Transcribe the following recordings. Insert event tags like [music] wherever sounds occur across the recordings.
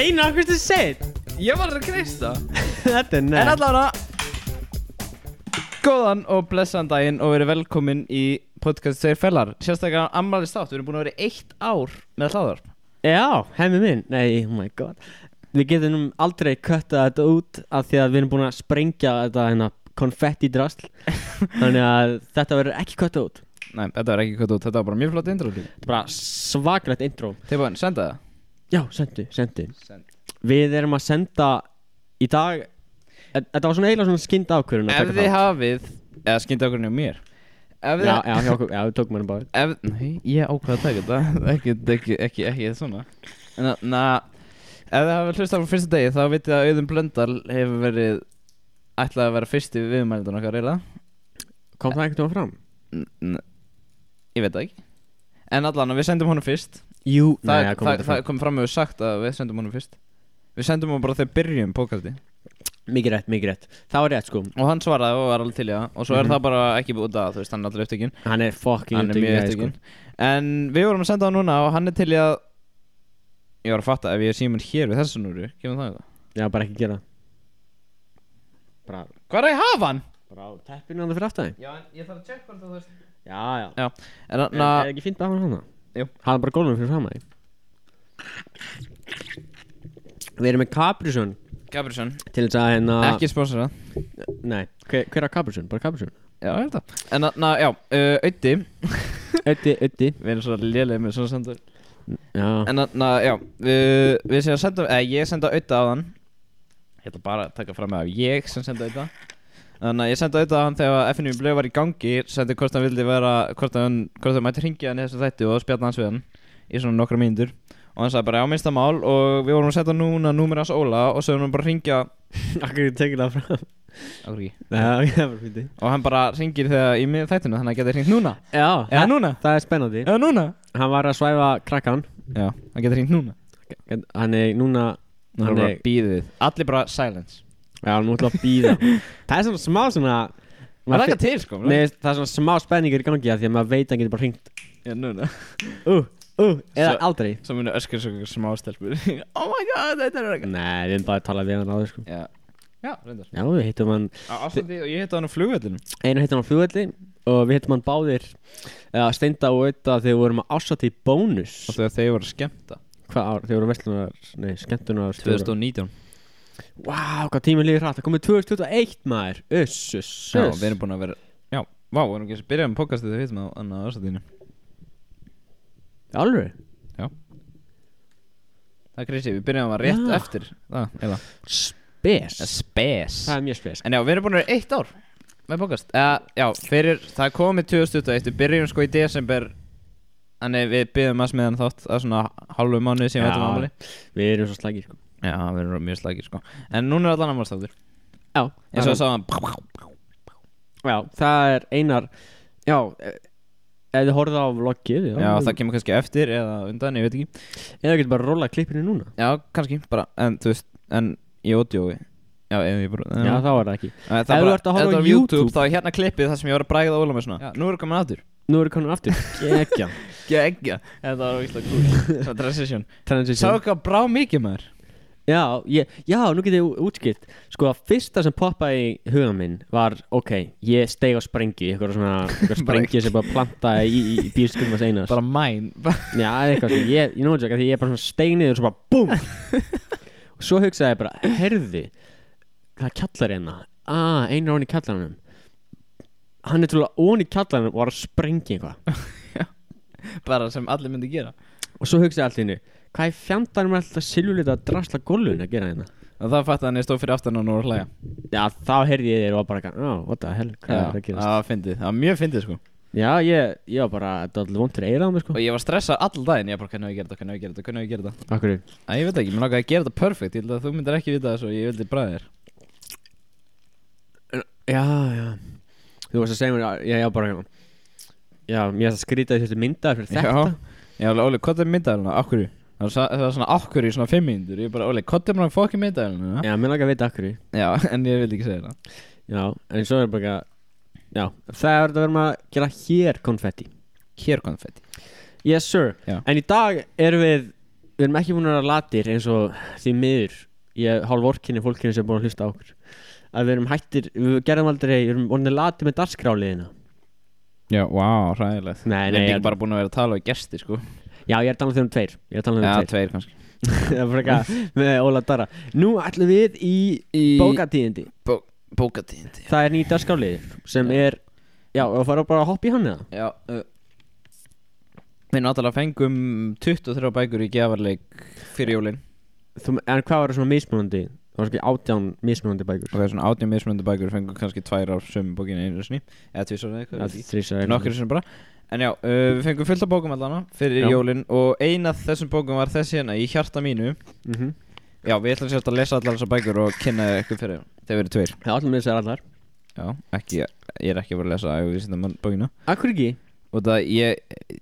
Einu, hvað ertu segið? Ég var að kreista Þetta er En nefn allavega Góðan og blessan daginn og verið velkomin í podcast Þeir Fellar Sérstaklega ammælist þátt, við erum búin að vera eitt ár með hláðar Já, hemmi minn Nei, oh my god Við getum aldrei kötta þetta út af því að við erum búin að sprengja þetta hérna, konfetti drasl [laughs] þannig að þetta verður ekki kötta út Nei, þetta var ekki hvað þú, þetta var bara mjög flott intro Þetta er bara svakrætt intro Tilbúin, senda það Já, sendu, sendu Send. Við erum að senda í dag e- Þetta var svona eiginlega svona skynd ákvörðun að Ef taka þið það hafið, eða skyndi okkur njög mér Ef Já, þið já, já, já, við tókum henni bara ef, Nei, ég ákvað að taka þetta [laughs] ekki, ekki, ekki, ekki svona Na, na Ef þið hafið hlustað frá fyrsta degi þá vitið að Auðun Blöndal hefur verið ætlaði að vera fyrsti viðmælindan okkar reyla Kom það ekkert um fram? Ég veit það ekki En allan, við sendum honum fyrst Jú, það, nei, er, kom það, þetta það fram kom fram með sagt að við sendum honum fyrst Við sendum honum bara þegar byrjum pókaldi Mikið rétt, mikið rétt Það var rétt sko Og hann svaraði og var alveg til í það Og svo er það bara ekki búið að þú veist, hann er allir upptökin Hann er fucking sko. Hann er Mhm. upptekinn, mjög gæði, upptökin En við vorum að senda hann núna og hann er til í að Ég var að fatta ef ég er símur hér við þessu núru Kemur það eitthvað Já, bara ekki gera það. Bara, Hvað er að ég hafa hann? bara á teppinu hann fyrir aftæði Já, en ég þarf að tjekka hvort þú veist Já, já Já, en Na, er hann ekki fínt að hafa hana? Jú. Hafa bara gólfum fyrir fram að því Við erum með Caprison Gabrielsson, Til þess að hérna ekki sponsora Nei, hver, hver er Caprison? Bara Caprison Já, ég held það En hann, já, uh, Ötti Ötti, ötti Við erum svo lélega með svona sendur Já En þannig að, já, við, við sem sendum, eða ég senda auðvitað á hann Ég ætla bara að taka fram með að ég sem senda auðvitað Þannig að ég senda auðvitað á hann þegar FNU blöð var í gangi Sendi hvort hann vildi vera, hvort hann, hvort hann mætti hringja hann í þessu þætti og spjalla hans við hann Í svona nokkra mínútur Og hann sagði bara, já, minnsta mál Og við vorum að setja núna númer hans Óla Og svo erum við bara að hringja [laughs] Akkur ég tekið það fram Akkur ekki. Já, ég var fínt Og hann bara hringir þegar í mið þættinu Þannig að hann getur hringt núna Já, Eða núna það er spennandi Eða núna Hann var að svæfa krakkan Já, hann getur hringt núna Hann er núna Hann Hann bara er býðið Allir bara silence Já, hann mútla að býða [laughs] Það er svona smá svona Það er ekki til sko Nei, það er svona smá spenningur í gangi af Því að maður veit að hann getur bara hringt Já, núna Uh, uh, eða Svo- aldrei Svo muni öskur svo ykkur smá stelpur [laughs] Oh my god, þetta er ekki Nei, við erum bara að tala við hann áður sko Já, já, reyndar Já, við hittum hann Á ástandi og ég heita hann á flugvöldinu Einar hittum hann á flugvelli Og við hittum hann báðir Eða steinda og auða þegar við vorum að ásatíð bónus Og þegar þeir voru að skemmta Hvað ár? Þegar við vorum vestlunar Nei, skemmtunar 2019 Vá, hvað tíminn líður hratt Það komið 2021 maður Uss, uss, uss Já, við erum búin að vera Já, vá, við erum ekki að byrja um podcastið þegar við hittum á annað ástandinu Alveg Það er crazy, við byrjum að rétt Já. eftir Það, eða Spes Spes Það er mjög spes En já, við erum búin að vera eitt ár Með podcast Eða, já, fyrir Það komið 2021 Við byrjum sko í desember Þannig við byrjum að smiðan þátt að svona hálfu mánuði síðan við áttum afmæli. Við erum svo slagir sko Já, við erum mjög slagir sko En núna er allan ammálstáttur Já Eins og það sagði hann Já, það er einar Já eh, Ef þið horfðu á vloggið Já, það kemur kannski eftir eða undan, ég veit ekki Eða getur bara að rolla klippinu núna Já, kannski, bara, en þú veist En ég ódjói Já, ef ég bara Já, þá var það ekki það, ef það þú bara, ert að horfa á ef það var YouTube, Þá er hérna klippið það sem ég var að bræða óla með svona Já, nú erum komin aftur Nú eru konar [laughs] aftur Gekja Gekja Þetta var ógislega [laughs] cool Svo transition Sá Transition eitthvað brá mikið maður Já, ég, já, nú getið þið útskipt Sko, að fyrsta sem poppaði í huga minn var Ok, ég steig á sprengju Eitthvað svona [laughs] Eitthvað Bara- sprengju sem bara plantaði í, í, í bílskulmas einas Bara [laughs] mæn Já, eitthvað svona Ég, ég nótjöka því ég er bara svona steig niður Svo bara búm Og svo hugsaði ég bara Herði Það er kjallar hérna Ah, einar ofan í kjallarnum Hann er trúlega ofan í kjallarnum Og var að sprengja eitthvað Bara sem allir myndi gera Og svo hugsaði ég allt í hennu Hvað er fjandarnum alltaf silvulita drasla gólun að gera hérna? Og það fatt að hann ég stóð fyrir aftan og nú var að hlæja Já, þá heyrði ég þér og var bara eitthvað, oh, what the hell, hvað er Já, það að gerast? það var fyndið Það var mjög fyndið sko Já, ég, ég var bara, þetta er allir vondur eira á mig, sko. Og ég var stressað all daginn Ég bara, hvernig á ég að gera þetta, hvernig á ég að gera þetta, hvernig á ég að gera þetta Akkur, Æ, ég veit ekki, mér langaði að gera þetta perfect Ég held að þú myndir ekki vita þessu og ég vildi bræða þér já, já. Þú varst að segja mér, að- já, já, bara, já, já, mér varst að skrýta því þessu myndaði fyrir þetta. Já, ég var alveg, Óli, hvað er myndaðalina, okkur Það var sa- það var svona okkur í svona fimm mínútur Ég bara, Óli, hvað er maður fokkin myndaðalina [laughs] Já, mér langar að vita akkur. Já, en ég vildi ekki segja það Já, en svo er bara Já, það er þetta verðum að gera hér konfetti Hér konfetti Yes sir Já. En í dag erum við Við erum ekki búin að vera latir eins og því miður Ég hálf orkinni fólkinu sem er búin að hlusta á okkur Að við erum hættir Við gerðum aldrei Við erum orðinni latir með darskráliðina Já, vá, ræðilegt Nei, Við nei, erum ég- líka bara búin að vera að tala við gesti, sko Já, ég er að tala um þeim tveir Ég er að tala um Já, þeim tveir kannski tveir [laughs] Það er freka með Óla Dara Nú ætlum við í Í bókatíðindi bó, Bókatíðindi Það er nýta skálið sem er Já, og fara bara að hoppa í hann eða Já uh, Við náttúrulega fengum 23 bækur í gefarleik fyrir jólin Þú, En hvað var svona mismunandi? Það var svona átján mismunandi bækur Og það er svona átjum mismunandi bækur Fengum kannski tvær af sömu bókinu einu sinni Eða tvisar eða eitthvað ég veit ekki. Þrísar Nokkur sem bara En já, uh, við fengum fullt af bókum allana fyrir Já. jólin Og eina af þessum bókum var þessi hérna Í hjarta mínu mm -hmm. Já, við ætlum sérst að lesa allar þessar bækur Og kynna þér eitthvað fyrir Þeir verið tveir Það allir með þessar allar Já, ekki, ég er ekki að fara að lesa Ægvísindamann bókina Akkur ekki? Og það ég, ég,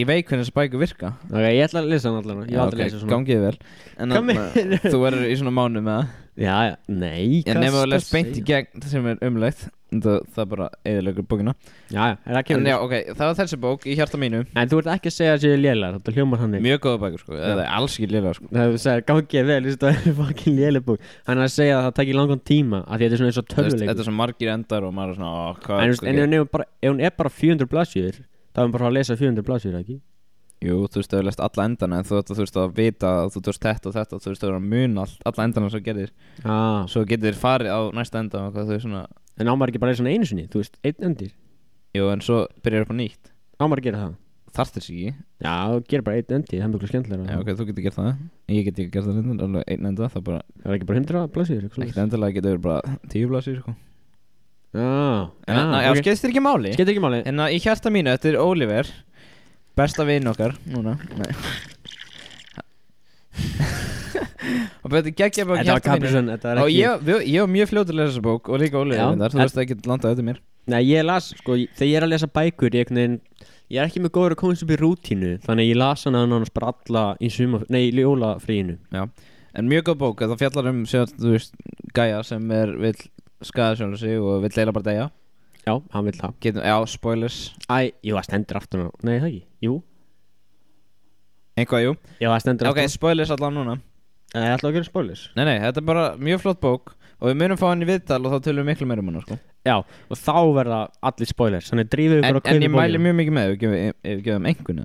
ég veit hvernig þessar bækur virka Ok, ég ætla að lesa hann allar Ég Já, ætla að ok, lesa svona Gangi þér vel En Hvað þarna, meinarðu? þú verður í svona mánu með það Já, já, nei En hvað nefnum að ertu lesa beint í segja? gegn það sem er umlegt það, það bara eðilegur bókina Já, já, er það En kemur já, ok, það var þessi bók í hjarta mínu En þú ert ekki að segja að séu lélar Þetta hljómar hann ekki Mjög góða bækur sko, það er alls ekki lila sko Það hefur segið gangið vel Þetta er [laughs] fucking lélabúk Hann er að segja að það takir langan tíma af Því að þetta er svona eins og Þú veist, Þetta töluleikur er svo margir endar og maður er svona ó, hvað, En, þú veist, en ef hvað gerir- hún er bara- ef hún er bara 400 blaðsjúður þá er hún bara að lesa 400 blaðsjúður, ekki? Jú, þú veist, þú hefur lest alla endana En þú veist, þú veist að vita að þú veist þetta og þetta Þú veist, þú veist að muna allt, alla endana sem þú gerir Ah, Svo getur farið á næsta enda og hvað þau svona en ámar ekki bara að lesa hann einu sinni, þú veist, einn endir Jú, en svo byrjar upp á nýtt Ámar að gera það Þarftir sig ekki Já, gera bara einn endir, það er mjög skemmtilega Já, ok, þú getur gert það En Ég get ekki gert það reyndar, alveg einn enda Það bara, Það er ekki bara 100 blaðsjúður, eitthvað ekkert endilega getur verið bara tíu blasir sko. Já, En ah, já, ok. okay. skeiðst þér ekki máli Skiptir ekki máli En að Hérna, í hjarta mínu, þetta er Oliver Besta vinn okkar Núna Nei [laughs] Og þetta er geggjað Þetta bók var hjarta mínu Capricorn, þetta var Og ekki ég, við- ég var mjög fljótur að lesa þessa bók Og líka Já, Oliver reyndar, Þú en- veist það getur landað auðvitað mér Nei, ég las, sko, ég- þegar ég er að lesa bækur Ég, einhvern veginn, ég er ekki með góður að komast upp í rútínu Þannig að ég las hana annars bara alla í suma, nei, í jólafríinu En mjög góð bók, það fjallar um sérst, Þú veist, gæja sem er vill skaða sjálf sig og vill leila bara degja Já, hann vil það Getum, já, spoilers Æ, jú, það stendur aftur á Nei, það ekki, jú Eitthvað, jú Já, það stendur Ok, aftur spoilers allan núna á Það er alltaf að gera spólis Nei, nei, þetta er bara mjög flott bók Og við munum fá hann í viðtal og þá tölum við miklu meira um hann sko. Já, og þá verða allir spoilers Þannig drífið en, ykkur að en kaupa ég mæli mjög mikið með Ef við gefum- ef við gefum einhverju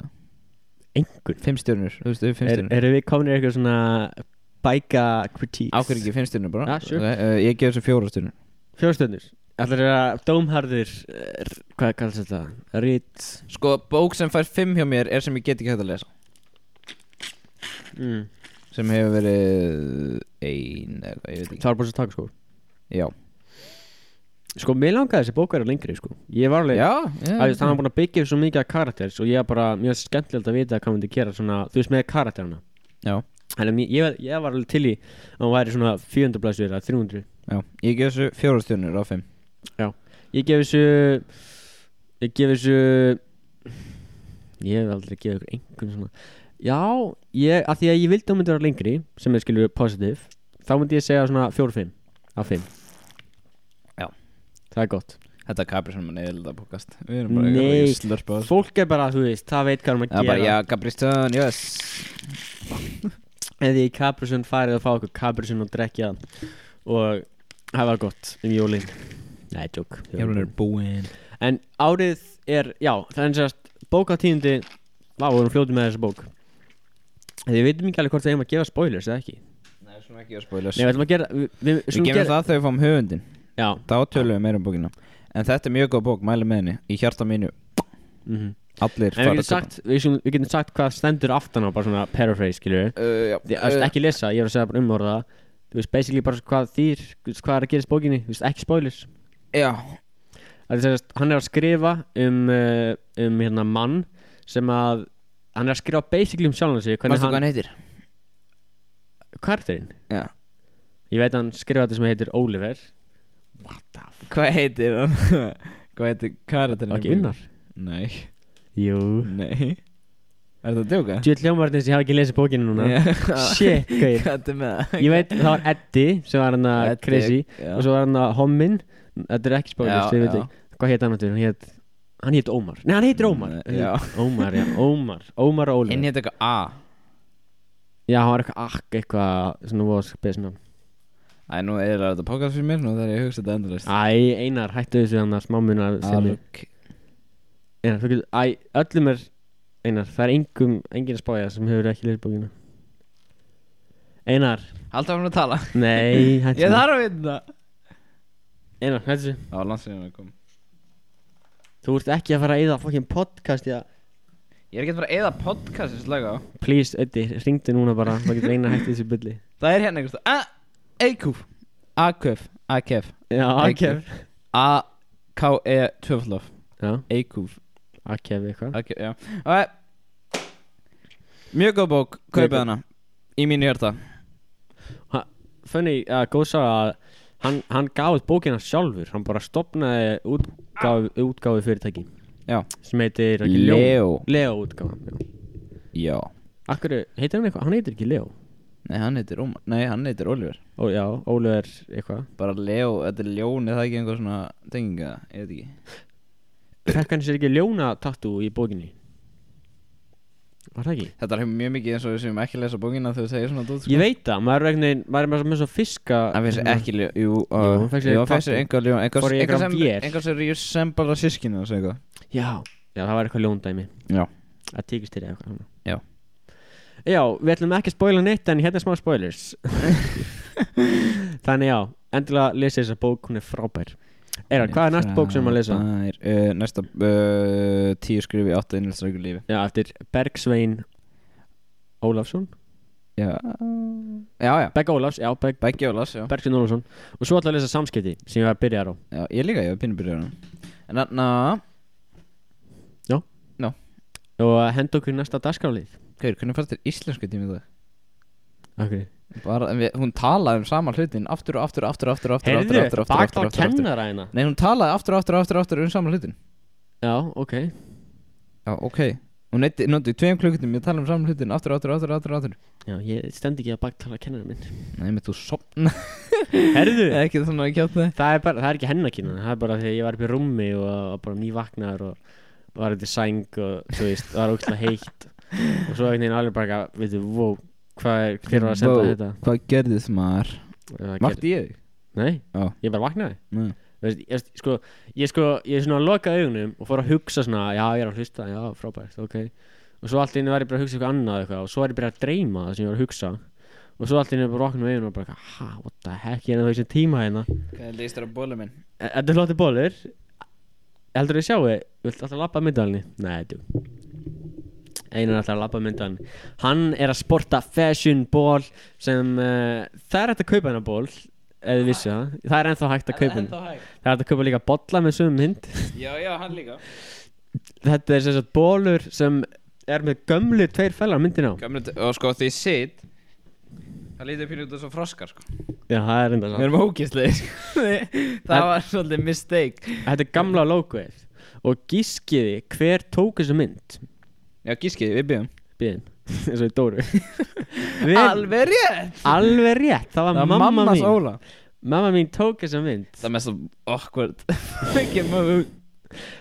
Engur Fimm stjörnur, þú veist, fimm er, stjörnur Eru við komin í eitthvað svona bæka kritíks? Ákveður ekki fimm stjörnur bara Ja, sure. Ok, uh, Ég gef þessu fjóra stjörnur Fjórstöndus Allir er að dómharðir er, Hvað kallast þetta? Rít Sko, bók sem fær fimm hjá mér er sem ég get ekki hægt að lesa mm. Sem hefur verið ein eða eitthvað, ég veit ekki Tvárbúrs að taka sko Já, Sko, mér langaði þessi bók að vera lengri sko Ég var alveg já, Æ, já, Það var búin að byggja upp svo mikið að karakter Og ég var bara mjög skemmtilegt að vita hvað myndi gera svona Þú veist með karakterina já, Þannig að mér- ég, ég var alveg til í Að hún væri svona 400 blæsir að 300 já Ég gef þessu fjóra stjörnur á fimm Ég gef þessu Ég gef þessu Ég hef aldrei gefið ykkur einhvern svona Já, ég, að því að ég vildi að hún myndi vera lengri sem er skilur positive þá myndi ég segja svona 4-5 af 5 Já. Það er gott Þetta er Capri sem mann eða þetta bókast Við erum bara Nei, eitthvað slörpa fólk er bara, þú veist, það veit hvað hún að Já, gera bara, já, Capri stjörn, yes En því Caprisun farið að fá okkur Caprisun og drekja og það var gott um jólin Nei, joke Jólun er búinn En árið er, já, það er sérst bókatíðindi, vá, við erum fljótið með þessa bók Því við veitum ekki alveg hvort það eigum að gefa spoilers eða ekki Nei, Nei, við skulum ekki að spoilers við ætlum að gera, við, við, Við skulum gefum það þegar við fáum höfundin Já, Þá tölum við meira um bókina En þetta er mjög góð bók, mæli með henni Í hjarta mínu, mhm allir En við fara getum sagt, við, skulum, við getum sagt hvað stendur aftan á, bara svona paraphrase, skilur við uh, já, Því, uh, ekki lesa, ég er að segja bara umorða það Þú veist, basically bara hvað þýr, þú veist, hvað er að gerast í bókinni, þú veist, ekki spoilers já, Það er sérst, hann er að skrifa um, uh, um hérna mann sem að, hann er að skrifa basically um sjálfan sig Hvernig Hvernig hann, hann heitir? hvað er þeirinn? Já. Ég veit að hann skrifa þetta sem heitir Oliver Hvað heitir hann? [laughs] Hvað heitir karakterinn? í Ekki bókinni? unnar Nei, Jú nei Er þetta að djóka? Djöld hljómarðin sem ég hafa ekki lesið bókinu núna Já. [laughs] Shit, gauð Hvað er með það? Ég veit, það var Eddi sem var hann að Þetta er- crazy já. Og svo var hann að hérna Hommin Þetta er ekki Já, spóilist, ég veit já. ekki Hvað heit hann aftur? Hann heit, hann heit Ómar Nei, hann heitir Ómar Nei, já. Ómar, já, Ómar Ómar og Hinn Ólið hétt eitthvað Ah, A Já, hann var eitthvað akk, eitthvað Svona vos, besna Æ, nú er þetta podcast fyrir mér Nú þarf ég að hugsa þetta Ah, endurist Æ, Einar, hættu þessu hann að smámuna sinni Einar, þú getur Æ, öllum er Einar, það er engum, engin að spája sem hefur ekki leir bókina Einar, Halda hann að tala nei, hættu [laughs] Ég þarf að vinna Einar, hættu þessu Það var landslegin að koma Þú ert ekki að fara að eyða fokkin podcast í að Ég er ekki að fara að eða podcast í slaga á Please, Öddi, ringdu núna bara Það getur Einar hætti þessu bylli Það er hérna einhvers A- AQF AQF AQF Já, Akkef. E, A-K-E-Tvöflof Já, AQF Akkef eitthvað AQF, E, já Ok Mjög góð bók Mjög Kaupið góð. hana Í mínu hjarta Funny, uh, góð saga að hann, hann gaf út bókina sjálfur Hann bara stopnaði útgáfi, útgáfi fyrirtæki Já. Sem heitir ekki Ljón- Leo Leo útgáfa já. Já Akkur, heitir hann eitthvað? Hann heitir ekki Leo Nei, hann heitir Ómar Nei, hann heitir Oliver Ó, Já, Ólu er eitthvað Bara Leo Þetta er ljón Er það ekki einhver svona Tenginga Ég veit ekki Fekk hann sér ekki ljóna tattoo í bókinni? Var það ekki? Þetta er mjög mikið eins og við séum ekki að lesa bókina Þegar þú segir svona dót sko. Ég veit það, maður er einhvern veginn, maður er með svo- með svo fiska Hann finnst ekki ljó Jú, uh, Jú, hann fékk sér jú, hann fæst tattoo. einhver ljón einhver- Fór í einhver einhverjan sem- vél. Einhver sem resemblar að sískinu og segja Já, já það var eitthvað ljóndæmi Já. Að tíkist til eitthvað svona. Já. Já, við ætlum ekki að spoila neitt en hérna er smá spoilers [laughs] Þannig já, endilega lesa þessa bók, hún er frábær Eira, hvað er næst bók sem við erum að lesa? Frábær. Uh, næsta uh, tíu skrifi átta innlæstrækur lífi Já, eftir Bergsvein Ólafsson Já, já, já. Berg Ólafs, já, Berg, Beggi og Lars, já. Bergsvein Ólafsson Og svo ætla að lesa samskipti sem ég var að byrja þar á já Ég líka, ég var pínu byrjar En þarna, Og henda okkur í næsta dagskrálið hver, hvernig fannst þér íslensku tími í dag? Akkur Bara, við, hún talaði um sama hlutin aftur og aftur og aftur og aftur og aftur, aftur, Heyrðu, aftur, aftur, bak aftur, þá aftur, aftur kennara hérna Nei, hún talaði aftur og aftur og aftur og aftur um sama hlutin Já, ok Já, ok Hún neytti, notið tveim klukkutum, ég tala um sama hlutin aftur og aftur og aftur og aftur, og aftur. Já, ég stend ekki að baktala kennara minn Nei, með þú [laughs] sopna Herðu ekki þannig að kjáta þig Það er, bara, það er ekki hennar kynna Það er bara því að ég var upp í rúmi og, og bara nývaknaður og var upp í sæng og þú veist, það var ógstlega heitt og svo einhvern veginn alveg bara eitthvað, veitu, wow, hvað er, hver var að senda Vó, þetta? Hvað gerðist maður? Og það gerði- Vakti ég? þig? Nei, Já. ég bara vaknaði Nei. Þú veist, ég, veist, sko, ég sko, ég svona lokaði augunum og fór að hugsa svona, já, ég er að hlusta, já, frábært, ok og svo allt í einu var ég bara að hugsa eitthvað annað eitthvað og svo var ég bara að dreyma það sem ég var að hugsa og svo allt í einu bara vaknaði augunum og bara, eitthvað, ha, what the heck, ég er ennþá í þessum tíma hérna Hvað leist þér á bóla minn? E- Þetta er flotti bólur Heldur þú sjáu, viltu alltaf labba myndalinni? Nei, þú Einar er alltaf að labba myndalinni Hann er að sporta fashion ból sem uh, það er hægt að kaupa hennar ból eða þið vissu það, það er ennþá hægt að kaupa hennar hægt? Það er hægt að kaupa líka bolla með sögum mynd [laughs] Já, já, hann líka Þetta er sem sagt bólur sem er með gömlu tveir fellar á myndina á Gamlega, og sko því sitt Það lítið pínu út af svo froskar sko Já, það er enda Við samt erum ógæslega sko [laughs] Það var svolítið mistake Þetta er gamla logoið og gískiði hver tók þessu mynd Já, gískið, við byggjum Bíðin, [laughs] eins og í Dóru Hver- Alveg rétt Alveg rétt, það var Það var mamma, mammas mín Óla Mamma mín tók þessa mynd Það er mest awkward [laughs] Ekki mamma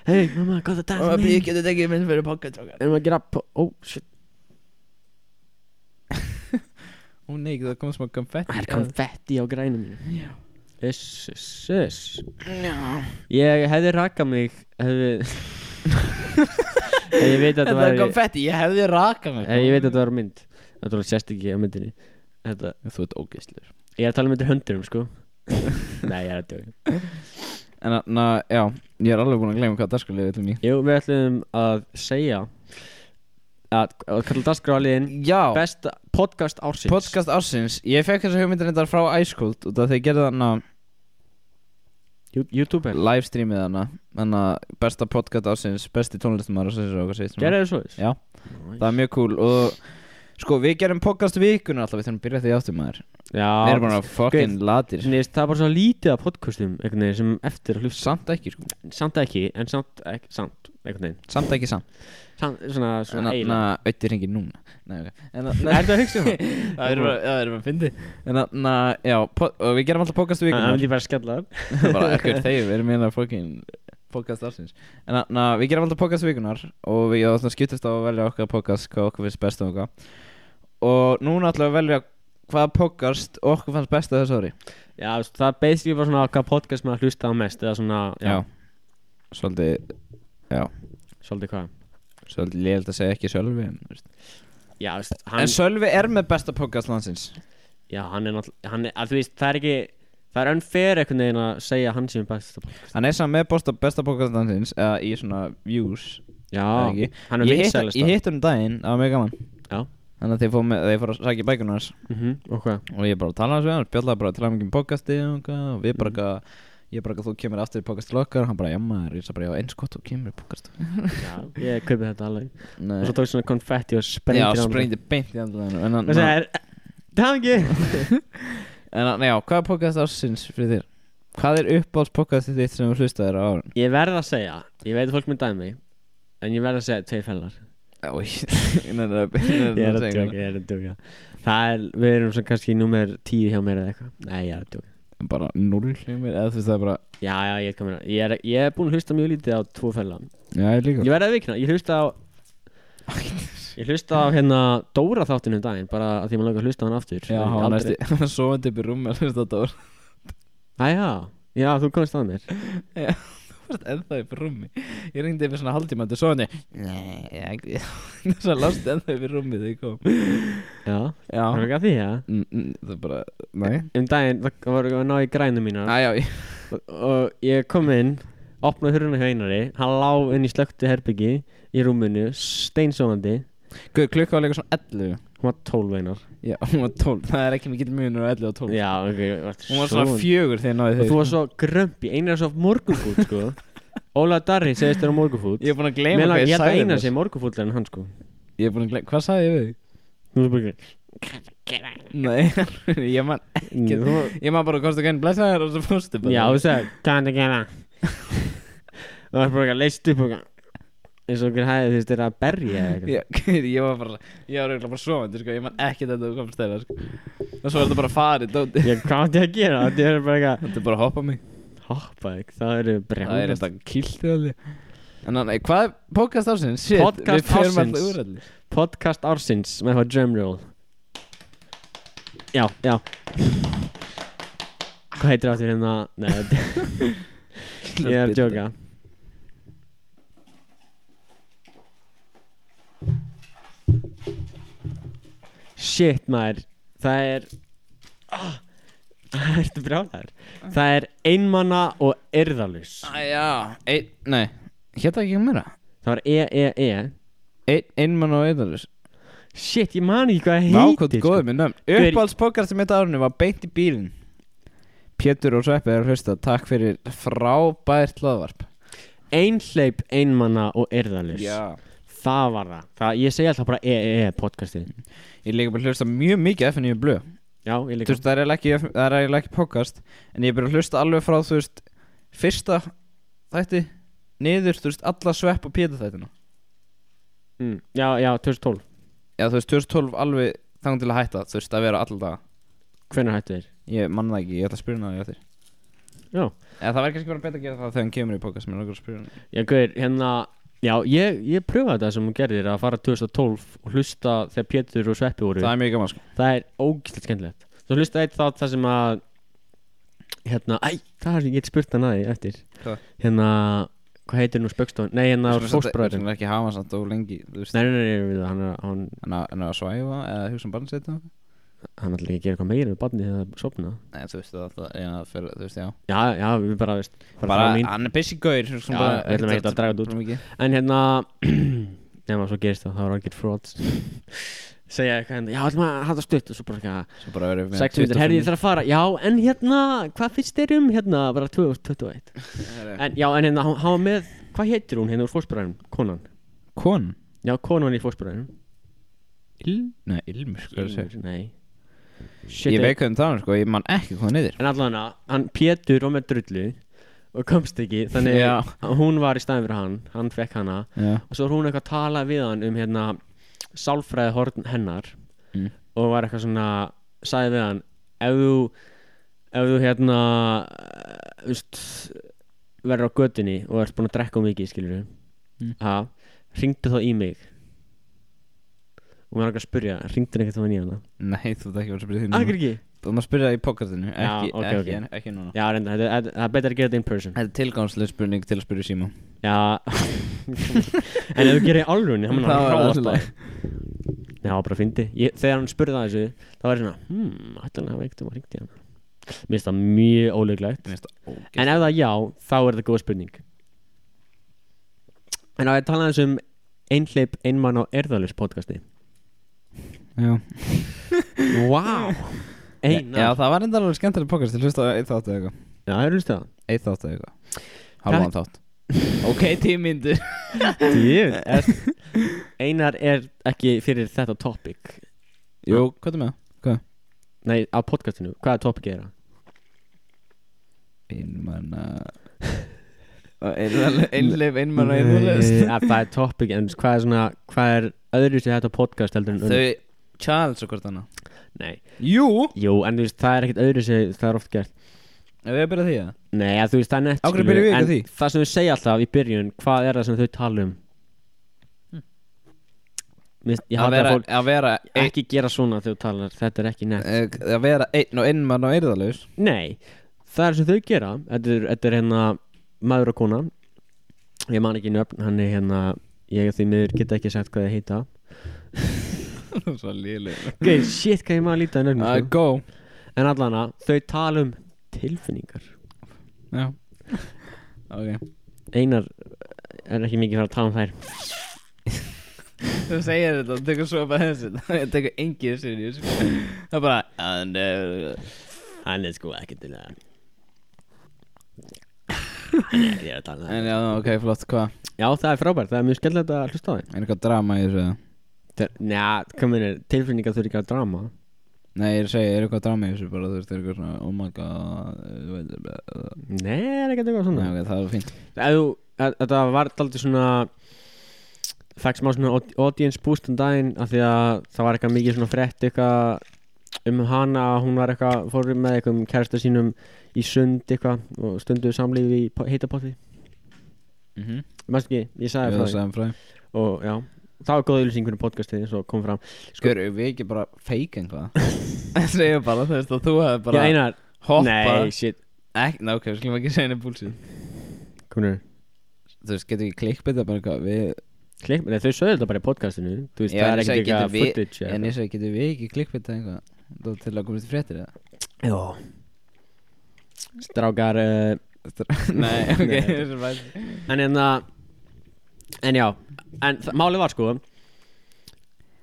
Hei, mamma, góð að dansa Mamma, með ég geti tekið minn fyrir pokkatrókar Erum að gera po- Ó, shit, Ó nei, það kom smá konfetti það er konfetti á grænum mínu Já. Uss, uss, uss Já. Ég hefði rakað mig Hefði [laughs] Ef Ég veit að Þetta það var var konfetti, ég hefði rakað mig Ég veit að það var mynd Þetta var sérst ekki á myndinni Þetta Þú ert ógæslega Ég er að tala um þetta höndurum, sko Nei, ég er að djóka En na, já, ég er alveg búin að glemja hvað það skulle við til mér Jú, við ætlum að segja Að, að kalla dagskráliðin Já Besta podcast ársins Podcast ársins Ég fekk þessa hugmyndin þetta frá Icecold út af því að gerði þarna Jú- YouTuber livestreamið hana þannig að besta podcast ársins besti tónlistumar og sér og hvað segir Gerðu þið svo Já. það er mjög cool og Sko, við gerum podcast vikuna alltaf, við þurfum að byrja því áttum maður Við erum bara Já, fucking latir Nei, það er bara svona lítið af podcastum einhvern veginn sem eftir að hlusta Samt ekki, sko Samt ekki, en samt, ekki, samt einhvern veginn Samt ekki samt samt, Svona, En svona þannig eiginlega að auðvitað hringir núna Nei, ok En Er þarna- þetta að hugsa um [laughs] það? Það er bara, já, það er bara fyndi En þannig að, já, po- og við gerum alltaf podcast Það vikuna vil ég bara skella það [laughs] bara ekkert þeir, við erum hérna fucking podcast ársins en na, na, við gerum alltaf podcast vikunar og við ætlum að skiptast á að velja okkar podcast hvað okkur finnst best og okkar og núna ætlum við að velja hvaða podcast okkur fannst best að þessu ári Já, þú veist, það er basically bara svona hvað podcast maður hlusta á mest eða svona, já, svolítið já, svolítið hvað svolítið liðild að segja ekki Sölvi en, þú veist. Já, þú veist, en hann, Sölvi er með besta podcast landsins já, hann er náttúrulega hann er, að þú veist, það er ekki það er unfair einhvern veginn að segja hann sem er besta podcast hann er saman með besta, besta podcast landsins eða í svona views Já, Það er ekki. Ah, hann er ég hitt vinsælasta ég hitt hann um daginn, það var mjög gaman Já. þannig að þeir fóru með- þeir fóru að sækja bækunar Mhm, Og hvað? og ég bara talaði hans við hann, spjallaði bara til hann um podcasti og, eitthvað, og við Mm. bara eitthvað, ég bara eitthvað, þú kemur aftur í podcast til okkar, hann bara jamma þér, ég sagði bara já eins gott þú kemur í podcast Já, ég kaupi þetta alveg Nei. Og svo tók svona konfetti og sprengdi já, hann. sprengdi beint í andlaðinu en, Og hann- það er, það er ekki en hann- já, hvað er podcast ársins fyrir þér? Hvað er uppáhalds podcastið þitt sem þú hlustaðir á árun? Ég verð að segja, ég veit að fólk mér dæmi En ég verð að segja tveir fellar Ég er [laughs] að djóka, ég er að djóka Það er, við erum svona kannski númer tíu hjá mér eða eitthvað Nei, ég er að djóka bara null hljómir eða þú veist það er bara Já, já, ég er komin að Ég er, ég er búin að hlusta mjög lítið á tvo fellar já, ég líka Ég verð að vikna, ég hlusta á [laughs] Ég hlusta á hérna Dóra þáttinu um daginn Bara að því maður langar að hlusta á hann aftur já, Ég hann aldrei- næstu hann var [laughs] sofandi upp í rúmi að hlusta á Dór Æ, já, já, þú komst að mér Þú varst ennþá upp í rúmi Ég ringdi yfir svona haldtíma Þú svo hann ég [laughs] Þess að lást ennþá upp í rúmi þegar ég kom Já, það er Já Mm, ekki að því, já Það er bara Nei Um daginn, það var að ná í grænum mínar Æjá og, og ég kom inn opnaði hurðina hjá Einari hann lá inn í slökktu herbyggi í rúminu steinsofandi Guð klukka var líka svona 11 hún var 12 Einar Já hún var 12 Það er ekki mikill munur á 11 og 12 já, ok Hún var svona fjögur þegar ég náði og þig þú var svo grömpi Einar svo morgunfúll sko [laughs] Óla Darri segist þér á morgunfúll Ég er búin að gleyma Meðan hvað ég ég held að sagði Einar þér sé morgunfúll en hann sko Ég er búin að gleyma Hvað sagði ég við þig? Nú er bara Nei [laughs] Ég man ekki- Þú var- Ég man bara hvort þú gæn blessa þér Og svo fórstu bara já, þú segir kannið gera það var bara ekki að leist upp og eitthvað. eins og okkur hæði þú veist þér að berja eða eitthvað. Já, [laughs] Ég var bara Ég var eiginlega bara svovandi sko Ég man ekki þetta þú komst þeirra sko Og svo er þetta bara farið dóti ég hvað átti ég að gera þetta er bara eitthvað Þetta er bara að hoppa mig hoppa ekki, það eru Það er brjálast þetta kiltið alveg En hann, eh, hvað er podcast ársins? Shit, Podcast við förum ársins. alltaf úr allir podcast ársins með hvað drumroll já, já hvað heitir áttur hérna nei, þetta- ég er að djóka shit maður það er ah, [laughs] ertu brjálæður það er einmanna og erðalus Æja, einn, nei Hétt það ekki um meira? það var E e-e-e Einn, einmann og einmann shit ég man ekki hvað það heitir Nákvæmt góður með nöfn sko. Hver- Uppáhalds podcast sem þetta árinu var beint í bílinn Pétur og Sveppi er að hlusta Takk fyrir frábært hlaðvarp Einhleip, einmanna og erðalus Já Það var það, það Ég segi alltaf bara EEE podcastið Ég er líka bara að hlusta mjög mikið FNU Blöð Já, ég Þú líka veist, það er eiginlega ekki, það er eiginlega ekki podcast En ég er bara að hlusta alveg frá, þú veist Fyrsta þætti Niður, þú veist, alla Svepp og Pétur þættina mm, Já, já, 2012 Já, þú veist, 2012 alveg þang til að hætta Þú veist, að vera alltaf daga Hvenær hættu þér? Ég manna það ekki, ég ætla að spyrja það þér Já, Eða það væri kannski bara betra að gera það þegar hann kemur í podcast Mér langar að spyrja hann já, guður, hérna Já, ég, ég pröfaði það sem hún gerðir að fara 2012 og hlusta þegar Pétur og Sveppi voru Það er mjög gaman, sko Það er ógæslega skemmtilegt Svo hlusta eitt þátt þar sem að Hérna, æ, það er ég get spurt hann að því eftir Hvað? Hérna, hvað heitir nú spöggstofan? Nei, hérna Þú veist, fóstbræðurinn Þú veist, ekki hafa samt og lengi Þú veist, Nei, nei, nei, nei, hann er, hann, hann á- hann á að svæfa Eða hugsa um barn sitt eða eitthvað. hann ætla ekki að gera eitthvað meira með barnið þegar það sopna Nei, þú veist, það það- já, fyrir- þú veist, já Já, já, við bara, veist, bara, Bara, bara mín hann er busy gaur svo Já, bara- við ætlum ekkert að draga þetta út. bara mikið. En hérna, [clears throat] nema, svo gerist það, það var algjör frauds [laughs] Segja eitthvað hérna, já, ætlum að hafa það stutt Og svo bara eitthvað, Svo bara verið sex minnir, herri, ég þarf að fara Já, en hérna, hvað finnst þér um hérna, bara 2021 þarf En já, en hérna, hann hann var með, hvað heitir hún hérna úr fórsbræðum, konan Kon Já, konan í fórsbræðum Ill- Nei, ilmur, sko Ilmur Nei Shit, eh. Ég veit hvað um það, sko, ég man ekki hvað hann yfir En allan að hann Pétur var með drullu og komst ekki þannig Já. að hún var í staðin fyrir hann hann fekk hana Já, og svo var hún eitthvað að tala við hann um hérna sálfræði horn hennar Mm. og var eitthvað svona sagði við hann ef þú ef þú hérna eh, þú veist, verður á götunni og ert búin að drekka of mikið skilur við Mm. ha, ringdu þá í mig og maður er eitthvað að spurja ringdu eitthvað þá í hana Ah, nei, þú veit ekki hvað að spyrja því akkur núna ekki Þú maður spyrja það í pokatinu, Já, ekki, ok, ok. ekki, en- ekki núna já reynda þetta- þetta- það er betra að gera þetta in person Þetta er tilgangslega spurning til að spyrja síma Já [laughs] En ef þú gerir í alvörunni þá mun hann ráðast á þig. Já, bara fyndi ég, Þegar hann spurði það þessu þá var ég svona Hmm, ætla hann að hafa eitt um að ringti hann Mér finnst það mjög óleiklegt En En ef það já, þá er það góð spurning En á ég talaði þessu um Einhleip, einmann og erðalus podcasti Já. Vá Einar Já, það var enda alveg skemmtileg podcast Ég hlusta á eitt þátt eða eitthvað Já, það er hlust það Eitt þátt eða eitthvað Halvan þátt Ok, tímyndu Djöfull, er- Einar er ekki fyrir þetta topic Jú, hvað er með það? Nei, á podcastinu, hvaða topic er það? Einmanna Einleif, einmanna, Nei, að það er topic en hvað er svona hvað er öðru sér þetta podcast heldur en önnur? Þau challenge og hvort annað nei, Jú jú en þú veist það er ekkert öðru sér það er oft gert Ef við að byrja því að nei að þú veist það er nett Á hverju skilurðu, byrjum við ekki en á því? það sem þau segja alltaf í byrjun hvað er það sem þau tala um Mér- ég Að hafði að vera, fólk að vera einn ekki gera svona þegar þú talar þetta er ekki nett eh, Að vera einn og einmann og [laughs] eyrðalaus nei það er sem þau gera þetta er, þetta er hérna maður og kona ég man ekki nöfn hann er hérna ég og því miður geta ekki sagt hvað þið heita Svo léleg [laughs] Gauð, shit hvað ég maður lítið að nöfnum Uh, Go En allana, þau tala um tilfinningar Já Ok Einar er ekki mikið fyrir að tala um þær Þú segir þetta og tekur svo bara þessi [laughs] Ég tekur engið seriós Það er bara And, uh, Hann er sko ekki til [laughs] það Hann er ekki til að tala um það En já, ok, flott, hvað? Já, það er frábært, það er mjög skemmtilegt að hlusta á þeim Er eitthvað drama í þessu? eða? Þeir- Njá, hvað minnir, tilfinningar þurfi ekki að drama Nei, ég er að segja, er eitthvað drama í þessu bara Þú veist, er eitthvað svona Oh my god Þú veit uh, Nei, það er ekki eitthvað Nei, svona ok, það er fínt Ef þú, að- þetta var daldið svona Fækst maður svona aud- audience boost um daginn af því að það var eitthvað mikið svona frett eitthvað um hana að hún var eitthvað, fór með eitthvað um kærasta sínum í sund eitthvað og stunduðu samlífi í heitapotti Mhm mm Mæstu ekki, ég Ég sagði er frá að því segja um fræ og já, það var góð ylýsingur í podcastið eins og kom fram Skur, erum við ekki bara fake [laughs] einhvað? Segja bara, þú veist, að þú hefði Já, bara Einar, hoppað nei, shit Ek, Ná, ok, við skulum ekki segja henni búlsið Komur, Þú veist, getur ekki klikkbytta bara eitthvað Við, klikk, nei, þau sögðu þetta bara í podcastinu Þú veist, Já, það en er ég ekkert sagði, eitthvað getur við- footage eða en eitthvað. ég segi, getur við ekki klikkbytta eitthvað Þú til að komast í fréttir [laughs] eða? Já Strákar, uh, Nei, ok, [laughs] Nei. þessu er bæst En hérna En já, en þa- málið var sko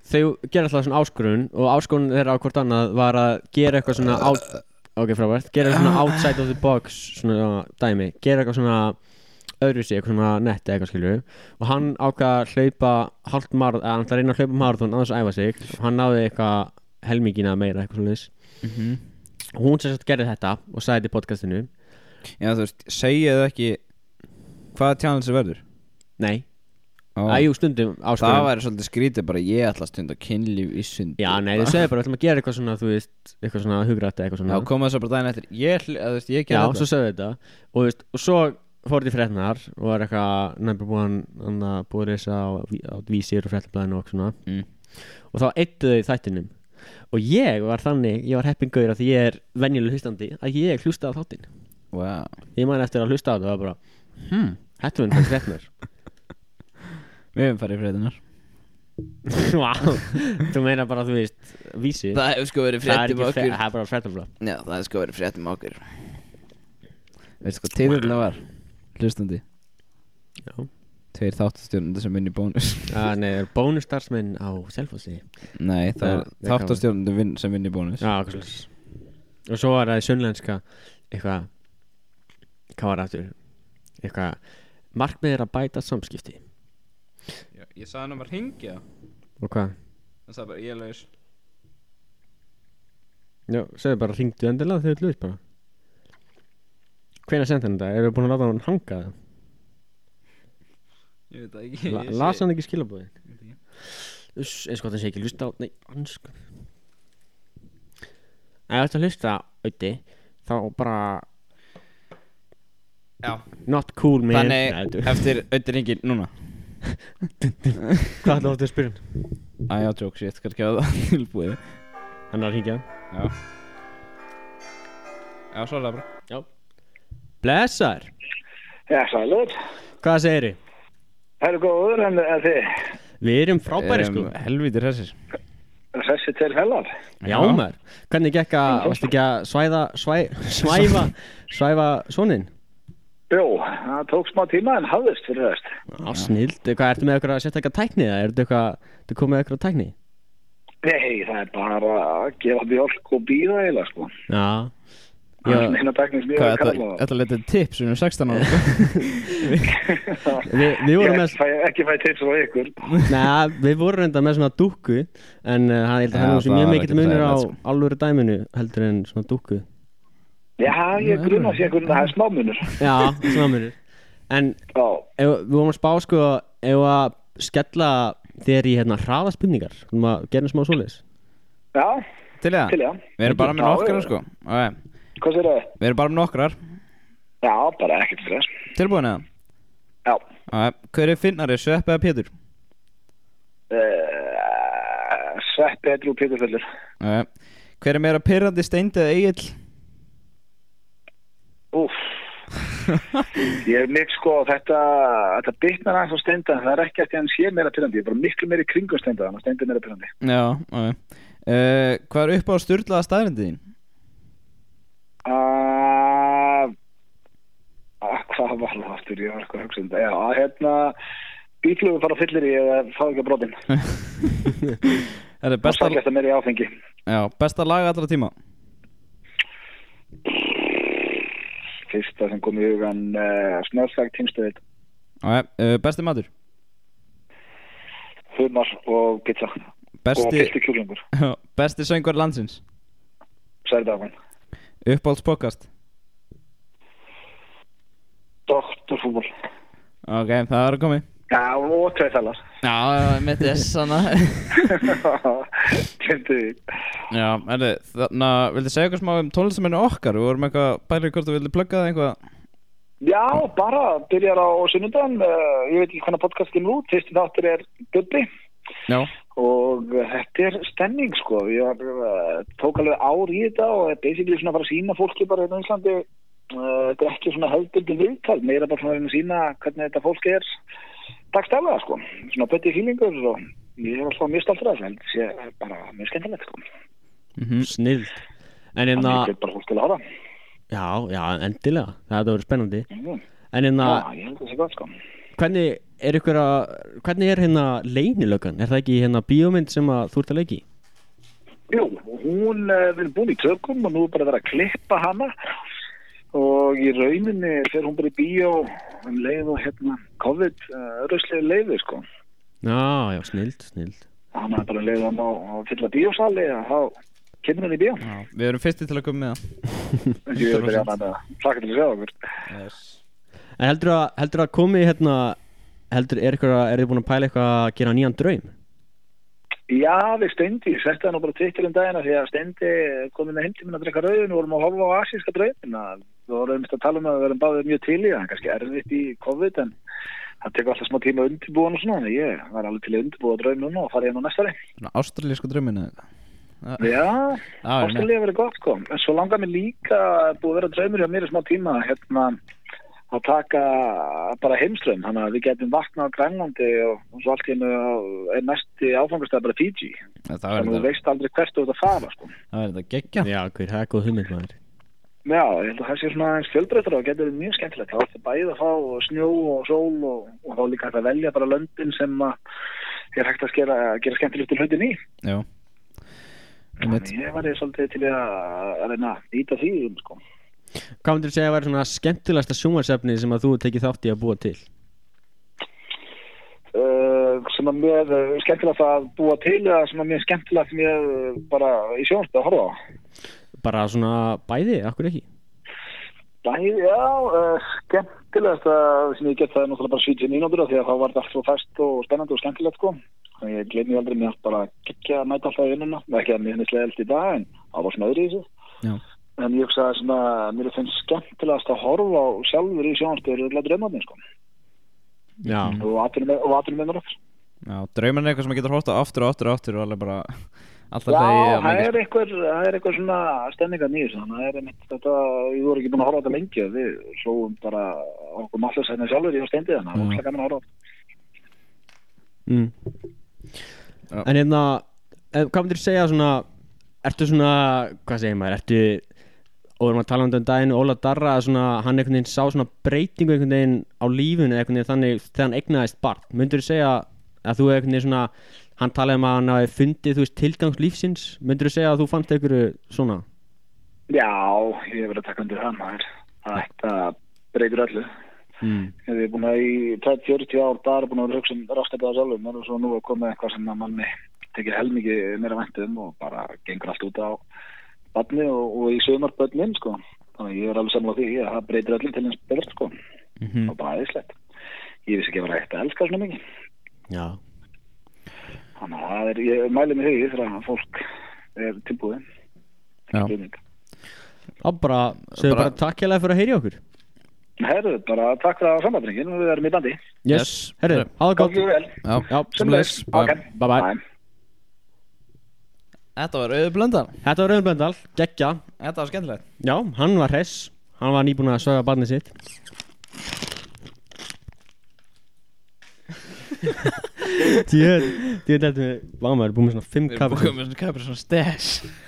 Þau gera alltaf svona áskorun Og áskorun þeirra á hvort annað var að gera eitthvað svona out, Ok, frábært Gera eitthvað svona outside of the box Svona dæmi Gera eitthvað svona öðru sig, eitthvað svona netti eitthvað skilur Og hann ákvað að hlaupa hálft marð Eða hann ætlaði að reyna að hlaupa marðun aðeins að æfa sig Og hann náði eitthvað helmingina meira eitthvað svona Mhm. Og hún sem sagt gerði þetta og sagði þetta í podcastinu Já, þú veist, segja þau ekki Hvaða challenge verður? Nei, Ó, að jú stundum áskorun það væri svolítið skrítið bara Ég ætla að stunda kynlíf í sund Ah. Já, nei, þið sögðu bara, við ætlum að gera eitthvað svona, þú veist, eitthvað svona hugrætt eitthvað svona. Já, koma þessu bara daginn eftir Ég, ætla- eða, þú veist, ég Já, gerði svo sögðu þetta. Og, þú veist, og svo fór þetta í fréttnar og var eitthvað number one, hann að búið reysa á, á vísir og fréttablaðinu og eitthvað svona. Mm. Og þá eittu þau þættinum. Og ég var þannig, ég var heppingaur af því ég er venjuleg hlustandi, að ég hlusta á þáttin. þetta wow. Ég man eftir að hlusta á þetta og var bara, hmm, hættu henni fyrir [laughs] fréttnar. Við hefum farið í fréttinar Vá, þú meina bara, þú veist, vísir. Það hefur sko verið Það er, fréttum ekki, frétt, okkur það er bara fréttablað. Já, það hefur sko verið fréttum okkur Veistu sko, tíðurlega var Hlustandi Já. Tveir þáttastjórnandi sem vinni [laughs] bónus Ah, nei, bónustarsmenn á Selfossi. Já, Nei, það er ég kann þáttastjórnandi vin, sem vinni bónus Já, eitthvað slags Og svo var það í sunnlenska eitthvað hvað var það aftur eitthvað markmið er að bæta samskipti Já, Ég sagði hann um að ringja og hvað? Það er bara, ég er laus Já, segðu bara, ringdu endilega þegar þú ert laus bara Hvenær sendi hann þetta? Erum við búin að láta hann hanga það? Ég veit það ekki La, ég sé- las hann ekki skilabóðin? veit ekki. Uss, eins og gott hann sé ekki að hlusta á Nei, ansku Ef þú ert að hlusta, auði Þá bara Já Not cool, man Nei, Þannig, þú- eftir auðvitað ringin núna [laughs] Hvað ætlaðu aftur að spyrja hann? Æ, já, tjók, shit, kannski að það [laughs] tilbúið Hann er að hringja hann Já Já, svaraði bara Blessar, Já, sælut. hvað segir þið? Það eru góður en, en þið Við erum frábæri Erum sko Helvítir hessir þessi til fellar. Já maður, hvernig gekk að, varstu ekki að svæða, svæ, svæfa, svæfa svonin? Jó, það tók smá tíma en hafðist fyrir þess. Á snild, hvað ertu með eitthvað að setja eitthvað tækni eða ertu eitthvað, þú komið eitthvað tækni? Nei, það er bara að gefa björk og býða eiginlega, sko. Já, Það er meina teknist mjög Hvað, að þetta, kalla það. þetta letið tips um 16 ára [laughs] við, við vorum Ég með, fæ, ekki fæ tips frá [laughs] ykkur. neða, við vorum reynda með svona dúkku en uh, hann- ég held að Já, það er nú sem það mjög var mikill ekkert munur á þægilegt, sko. alvöru dæminu heldur en svona dúkku Já, ég gruna sér einhvern veginn að það er smámunur. Já, [laughs] svona munur En Já, ef, við vorum að spá sko, ef að skella þér í hérna hraða spurningar, við vorum að gera smá svoleiðis já, Til í það til já. Við erum bara með Já, nokkrar, já. sko Ok, Hvað sér það? Við erum bara með nokkrar Já, bara ekkert fyrir þess. Tilbúin eða? Já. Ok, Hver er finnari, Svepp eða Pétur? Uh, Sveppi, Edru og Pétur Fellur. Ok. Hver er meira pyrrandi steind eða eigill? Úf. Ég er mikil sko, þetta, þetta bitnar aðeins á steindan, það er ekki að því að hann sé meira pyrrandi, ég er bara miklu meira í kringum steindan, þannig að steindan er meira pyrrandi. Já, ok Uh, hvað er upp á styrlaða staðrindin þín? Uh, uh, hvað var það aftur, ég var eitthvað að hugsa um þetta, já, að hérna, bílflugur fara fyllir í eða fá ekki að brotin, Það er og besta, sækja þetta meira í áfengi. já, besta lag allra tíma Fyrsta sem kom í hugan, uh, snöðsagt tímstöðið, okay. uh, Besti matur humar og pizza, og Besti, fyrsti kjúklingur, besti söngur landsins særdagan, Uppáhaldspodcast doktorfútbol, Ok, það var að komi já, og tveithalar, Já, með þess hana [laughs] tjöndi því. [laughs] Já, erðu, þannig að viltu segja eitthvað smá um tónlistamennu okkar? Við vorum eitthvað bærið hvort þú viltu plugga það eitthvað Já, bara, byrjar á sunnundan, uh, ég veit ekki hvernig podcast kemur út, fyrsti þáttur er Bubbi Já, og uh, þetta er stemning sko, ég var, uh, tók alveg ár í þetta og er basically svona að fara að sína fólki bara hérna á Íslandi, uh, þetta er ekki svona höfðbundin viðtal, meira bara svona að reyna að sína hvernig þetta fólk er dagstælega sko, svona betti fílingur og ég er alltaf mjög stoltur af þessu, en þetta er bara mjög skemmtilegt sko, Mhm. Mm. Snild En þannig hérna, að ég get bara fólk til að horfa. já, já, endilega Það hefði verið spennandi Mm. En hérna, Já, ég held að það sé gott sko. hvernig er ykkur að Hvernig er hérna leynilöggan? Er það ekki hérna bíómynd sem að þú ert að leiki? Jú, hún uh, er búin í tökum og nú er bara að vera að klippa hana og í rauninni fer hún bara í bíó um leið og hérna COVID uh, röslega leiði sko. Já, já, snild, snild Hann er bara um leið og hann á að fylla bíósali og þá kemur hann í bíó. já Við erum fyrsti til að koma með En ég er bara að hlaka til að segja okkur. það yes. En heldur að, heldur að komi hérna Heldur, er ykkur að, er þið búin að pæla eitthvað að gera nýjan draum? Já, við stendi, ég setti hann nú bara tvittir um dagina því að stendi komið með heimtíminn að drekka rauðin og vorum að horfa á asíska draumina. Við vorum einmitt að tala um að við verðum báðið mjög til í það, kannski erfitt í COVID en það tekur alltaf smá tíma að undirbúa hann og svona, þannig ég var alveg til að undirbúa draum núna og fara hérna á næsta reynd. Ástralísku drömminu Já, Já, ég ástæðilega verið gott sko, en svo langar mér líka búið að vera draumur hjá mér í smá tíma hérna að taka bara heimströmm, þannig að við getum vaknað á Grænlandi og, og svo allt hérna er næsti áfangastæð bara Fiji, Það þannig að þú verður veist aldrei hvert þú ert að fara sko. þetta geggja Já, hver, það er góð hugmynd maður Já, ég held að það sé svona aðeins fjölbreyttur og getur verið mjög skemmtilegt. Það ertu bæði að fá snjó og sól og, og þá er líka hægt að velja bara löndin sem að er hægt að skera, gera skemmtilegt til hlutin í. Já Einmitt. Þannig Ég var ég svolítið til að, að reyna að íta því, um, sko. Hvað myndir þú segja að vera svona skemmtilegasta sjónvarsefni sem að þú hefur tekið þátt í að búa til? Uh, sem sem að mér eh, skemmtilegt að búa til eða sem að mér skemmtilegt mér eh, bara í sjónstu að horfa á Bara svona bæði, akkur ekki Bæði, já, uh, skemmtilegast að sem ég get það er náttúrulega bara 70 mínútur af því að þá var þetta allt svo fest og spennandi og skemmtilegt sko. Þannig ég gleymi aldrei mér bara geggja að mæta alltaf í vinnuna, Það er ekki að mér finnist leiðilt í dag en það var svona öðru í þessu. Já. En ég hugsa að svona, mér finnst skemmtilegast að horfa á sjálfur í sjónastöður og drömmarnir sko. Já, Og atvinnum með mér aftur. Já, drauman er eitthvað sem maður getur hórt á aftur og aftur og aftur og alveg bara alltaf Já, þegar það er einhver, það er einhver svona stemninga nýjus, þannig að það er einmitt þetta, ég voru ekki búin að horfa á þetta lengi, við hlóum bara okkur mallur sæna sjálfur í á steindið, þannig að það var ekki gaman að horfa á þetta. mm. Já. En hérna, eh, hvað myndir segja svona Ertu svona, hvað segir maður, ertu Og við erum að tala um þetta um daginn Óla Darra, svona, hann einhvern veginn sá svona breytingu einhvern veginn á lífinu einhvern veginn þannig þegar hann eignaðist barn Myndir segja að þú einhvern veginn svona Hann talaði um að hann hafi fundið, þú veist, tilgangs lífsins Myndir segja að þú fannst einhverju svona Já, ég hef verið að taka undir það, maður. Það- Það breytir öllu. mm. Ég hef búin að í 30-40 ár bara búin að vera að hugsa um rastabæða sjálfum, en svo nú að koma með eitthvað sem að manni tekið helmingi meira væntum og bara gengur allt út á badni og, og í sömarböðnin, sko. Þannig að ég er alveg samlega því að það breytir öllu til eins betra, sko. Mhm. og bara aðeinslegt ég vissi ekki að vera hægt að elska svona mikið Já, þannig að það er, ég mæli mig hugið þegar að fólk er tilbúið Já. þá bara, segðu bara, Bara- bara takk hérlega fyrir að heyri okkur Herðu, bara takk það á samvætningin og við erum í bandi Yes, yes. Yes. herru, Herru. hafa það Gangi gott ykkur vel Já, Já, sömuleiðis. Ok. Bye. Bye bye. Þetta var auður blöndal Þetta var Rauðin Blöndal, geggja Þetta var skemmtilegt Já, hann var hress Hann var nýbúin að sögja barnið sitt Djöð, djöð þetta við Vámaður, búin með svona fimm Við erum kapur komið með kapur svona stes [laughs]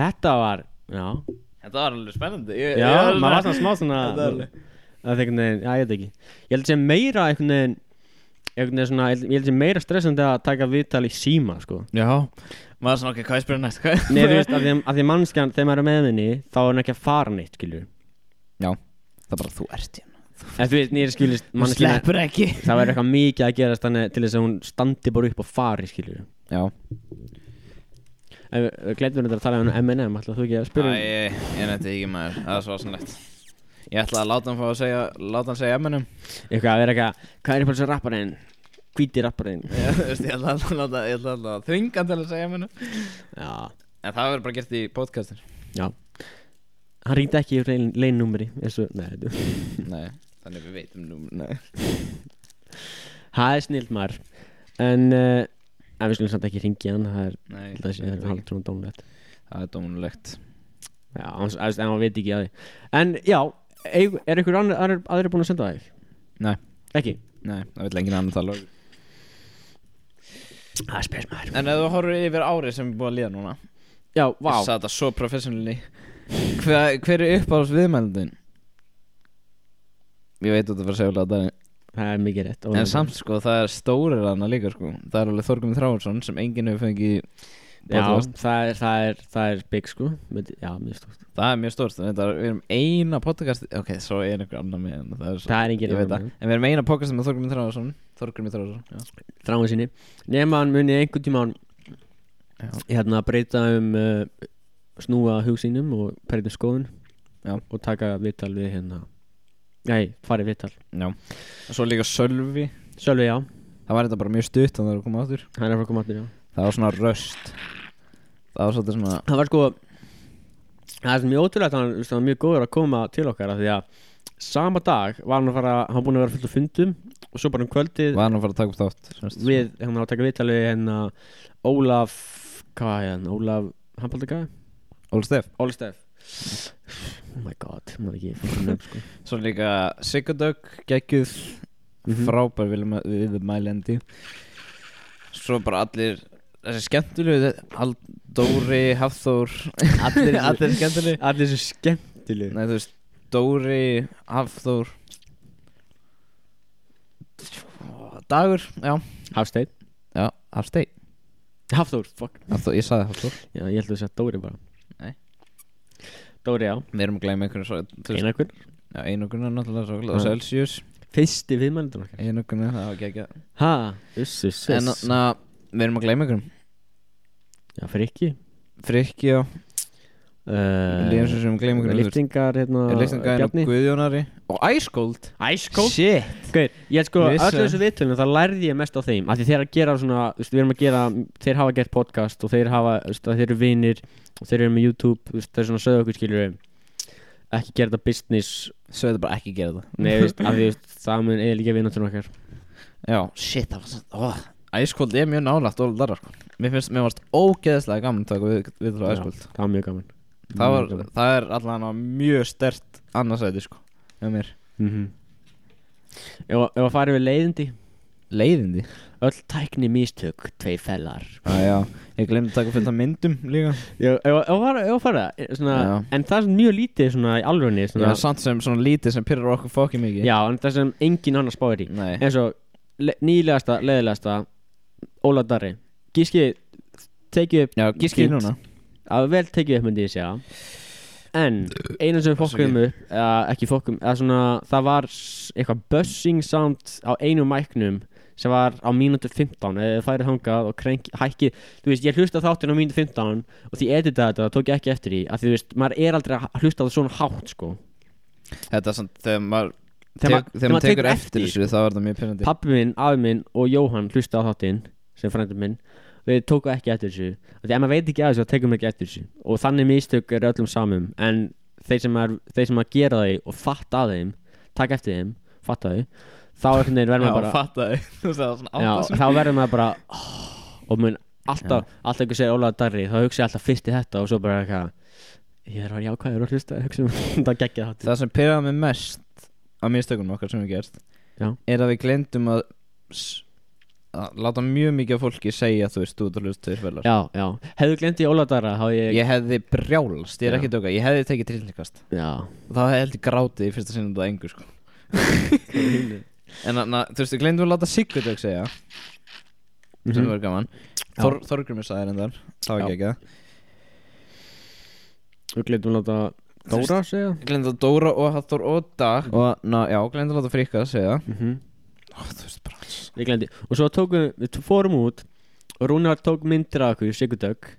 Þetta Þetta var, já var alveg spennandi ég, Já, ég- maður var svona smá svona Þetta var alveg- Það er einhvern veginn, já ég veit ekki Ég held að sé meira einhvern veginn Einhvern veginn svona, ég held- ég held að sé meira stressandi að taka viðtal í síma, sko Já, maður var svona ok, hvað er spyrir næst Hvað- Nei, þú veist, af því, af því mannskjan, þegar maður er með henni Þá er hann ekki að fara neitt, skilur Já, það er bara þú ert hérna En þú veist, nýri skilist Þú manneskjan sleppur ekki Það verður eitthvað mikið að gerast þannig til þess að hún standi bara upp og fari, skilur Já En við- við glemtum þetta að tala um M&M, ætlaðu þú ekki að spyrja um Æ, ég nefndi ekki maður, það var svasanlegt Ég ætla að láta hann fá að segja, láta hann segja [laughs] emmennum Eitthvað að vera eitthvað, hvað er uppáhalds rapparinn? Hvíti rapparinn Ég veist, ég ætla að láta, ég ætla að þvinga hann til að segja emmennum Já, En það verður bara gert í podcastin já Hann ringdi ekki úr leinnúmeri eins og, nei, þetta [laughs] Nei, þannig við veitum nú, nei Það er snilt maður En, uh, en við skulum samt ekki ringi hann Það er, Nei, það sé, það er það hálftrúan dónulegt er dómulegt Já, hann, þú veist, en hann veit ekki að því En, já, eig- er ykkur annar, aðrir, aðrir búin að senda það? Nei, Ekki? nei, það vil enginn annan tala um. Það er spes maður En ef þú horfir yfir árið sem við búið að líða núna Já, vá Ég sagði þetta svo professionally Hver, hver er uppáhalds viðmælandin? Ég veit að þetta var að segja alveg að það er Það er mikið rétt En samt sko, það er stórir hana líka sko Það er alveg Þorgum Þráinsson sem enginn hefur fengið í Já, podcast. það er, það er, það er big sko Myndi, Já, mjög stórt Það er mjög stórt Þetta er, við erum eina podcast Ok, svo er einhver annar með en Það er, svo, Það er hérna. enginn Ég veit annar það með. En við erum eina podcast með Þorgum Þráinsson Þorgum Þráinsson já. Þráin sinni Nefna hann muni einhvern tímann Já. Hérna breyta um uh, Snúa hug sínum og breyta um skoðun Já. Og taka viðtal við hérna Nei, farið viðtal já Og svo líka Sölvi Sölvi já, Það var þetta bara mjög stutt Þannig að það koma áttur hann er frá komandir já Það var svona röst Það var svolítið svona Það var sko Það er mjög ótrúlegt að hann þú veist, hann var mjög góður að koma til okkar af Því að sama dag var hann að fara Hann var búin að vera fullt af fundum Og svo bara um kvöldið Var hann að fara að taka upp þátt semst. við, hann á að taka viðtal við hérna Ólaf, hvað er hann, Ólaf Hampaldagæði? Óli Steff Óli Steff Oh my god, maður ekki fucking nöfn, sko. Svo líka Sigurdögg Gekkið Frábær viðma- viðmælandi Svo bara allir Þessi skemmtilegu Dóri Hafþór Allir, allir skemmtilegu [laughs] Allir þessu skemmtileg Nei, þú veist, Dóri, Hafþór Dagur, já Hafsteinn, Já, Hafstein Hafþór, fuck Hafþór, ég sagði Hafþór Já, ég held að segja Dóri bara Nei. Dóri, já, Við erum að gleyma einhvern svo þú veist, einhvern Já, einhverjum náttúrulega svo Og Já. Celsius Fyrsti viðmælindur okkar Ég er nokkuð með það, ok, ok Ha, uss, uss, En uss na, við erum að gleyma ykkur Já, frikki Frikki og uh, Líðum sem sem gleyma ykkur Liftingar, hérna Lýftingar og Bjarni Guðjónari Og Æskold Æskó Shit Gauir, ég sko, Ég vissi öllu það. þessu viðtölunum þá lærði ég mest á þeim Af því þeir að gera svona, þú veist, við erum að gera Þeir hafa gert podcast og þeir hafa, þú veist, að þeir eru vinir Og þeir eru með YouTube, þú veist, þeir eru svona sögðu okkur skilur Ekki gera þetta business Svo þetta bara ekki gera það Nei, þú veist, af því þú veist, það mun eða líka vinnatun okkar Já, shit, það var svona oh. Æskold er mjög nálægt og darra sko. Mér finnst, mér varst ógeðslega gaman að taka við, við frá Já, Æskold Það var mjög gaman það, var, það er allavega mjög stert annarsæti sko með mér mm -hmm. Ef ef að fara við leiðindi Leiðindi Öll tækni mistök, tvei fellar ah, Já, ég glemdi að taka fullt af myndum líka Já, ef að- ef að fara, ef að fara eh, svona, Já. En það er svona mjög lítið svona í alvörunni svona, Já, samt sem svona lítið sem pyrrar okkur fokkið mikið Já, en það sem engin annar spáir í Nei En svo, le, nýlegasta, leiðilegasta Óla Darri Gíski, tekið upp Já, gískið fínt. núna að vel tekið upp myndi ég segja en einu sem við fokkum upp eða ekki fokkum, eða svona það var s- eitthvað buzzing sound á einu mæknum sem var á mínútu 15 eða það færið hangað og krenk, hækki þú veist, ég hlusta á þáttinn á mínútu 15 og því editaði þetta, það tók ég ekki eftir í að því, þú veist, maður er aldrei að hlusta á það svona hátt sko. Þetta er samt þegar maður Þegar maður- tek- Þegar maður tekur í, eftir sko. þessu þá er það mjög pyrrandi pappi minn, afi minn og Jóhann hlusta á þáttinn sem frændur minn þau tóku ekki eftir þessu Af því ef maður veit ekki að þessu þá tekur maður ekki eftir þessu og þannig mistök eru öllum samum en þeir sem, er, þeir sem að gera þau og fatta að þeim taka eftir þeim, fatta þau þá er hvernig verður maður bara fatta þau [laughs] Þú veist það var svona átta já, sem þá verður maður bara oh, og mun alltaf, alltaf ykkur segir Ólaður Darri þá hugsa ég alltaf fyrst í þetta og svo bara eitthvað ég er að vera jákvæður og hlusta hugsa um [laughs] þetta geggja þátt Það sem pyrraði mig mest á mistökunum okkar sem við gerst Já. er að við glemdum að, s- að láta mjög mikið af fólki segja þú veist, þú ert að hlusta þér fælar já, já, hefðu glemt í Ólaður Darra þá ég, Ég hefði brjálast, ég er Já. ekki að djóka Ég hefði tekið trillingkast já, Þá hefði heldur grátið í fyrsta sinni út af engu sko. En na, þú veist, við glemdum að láta Sigurdögg segja Sem Mhm. var gaman Já. Þor, Þorgrumur sagði reyndar Það var Já. ekki ekki það Við glemtum að láta Þú Dóra segja Mhm. Glemdum að Dóra og Hathor og Dag Og na, já, glemdum að láta Frikka segja mm Ó, Þú veist bara Við glemdi Og svo tókum við, við fórum út Og Rúnar tók myndir af okkur, Sigur Dögg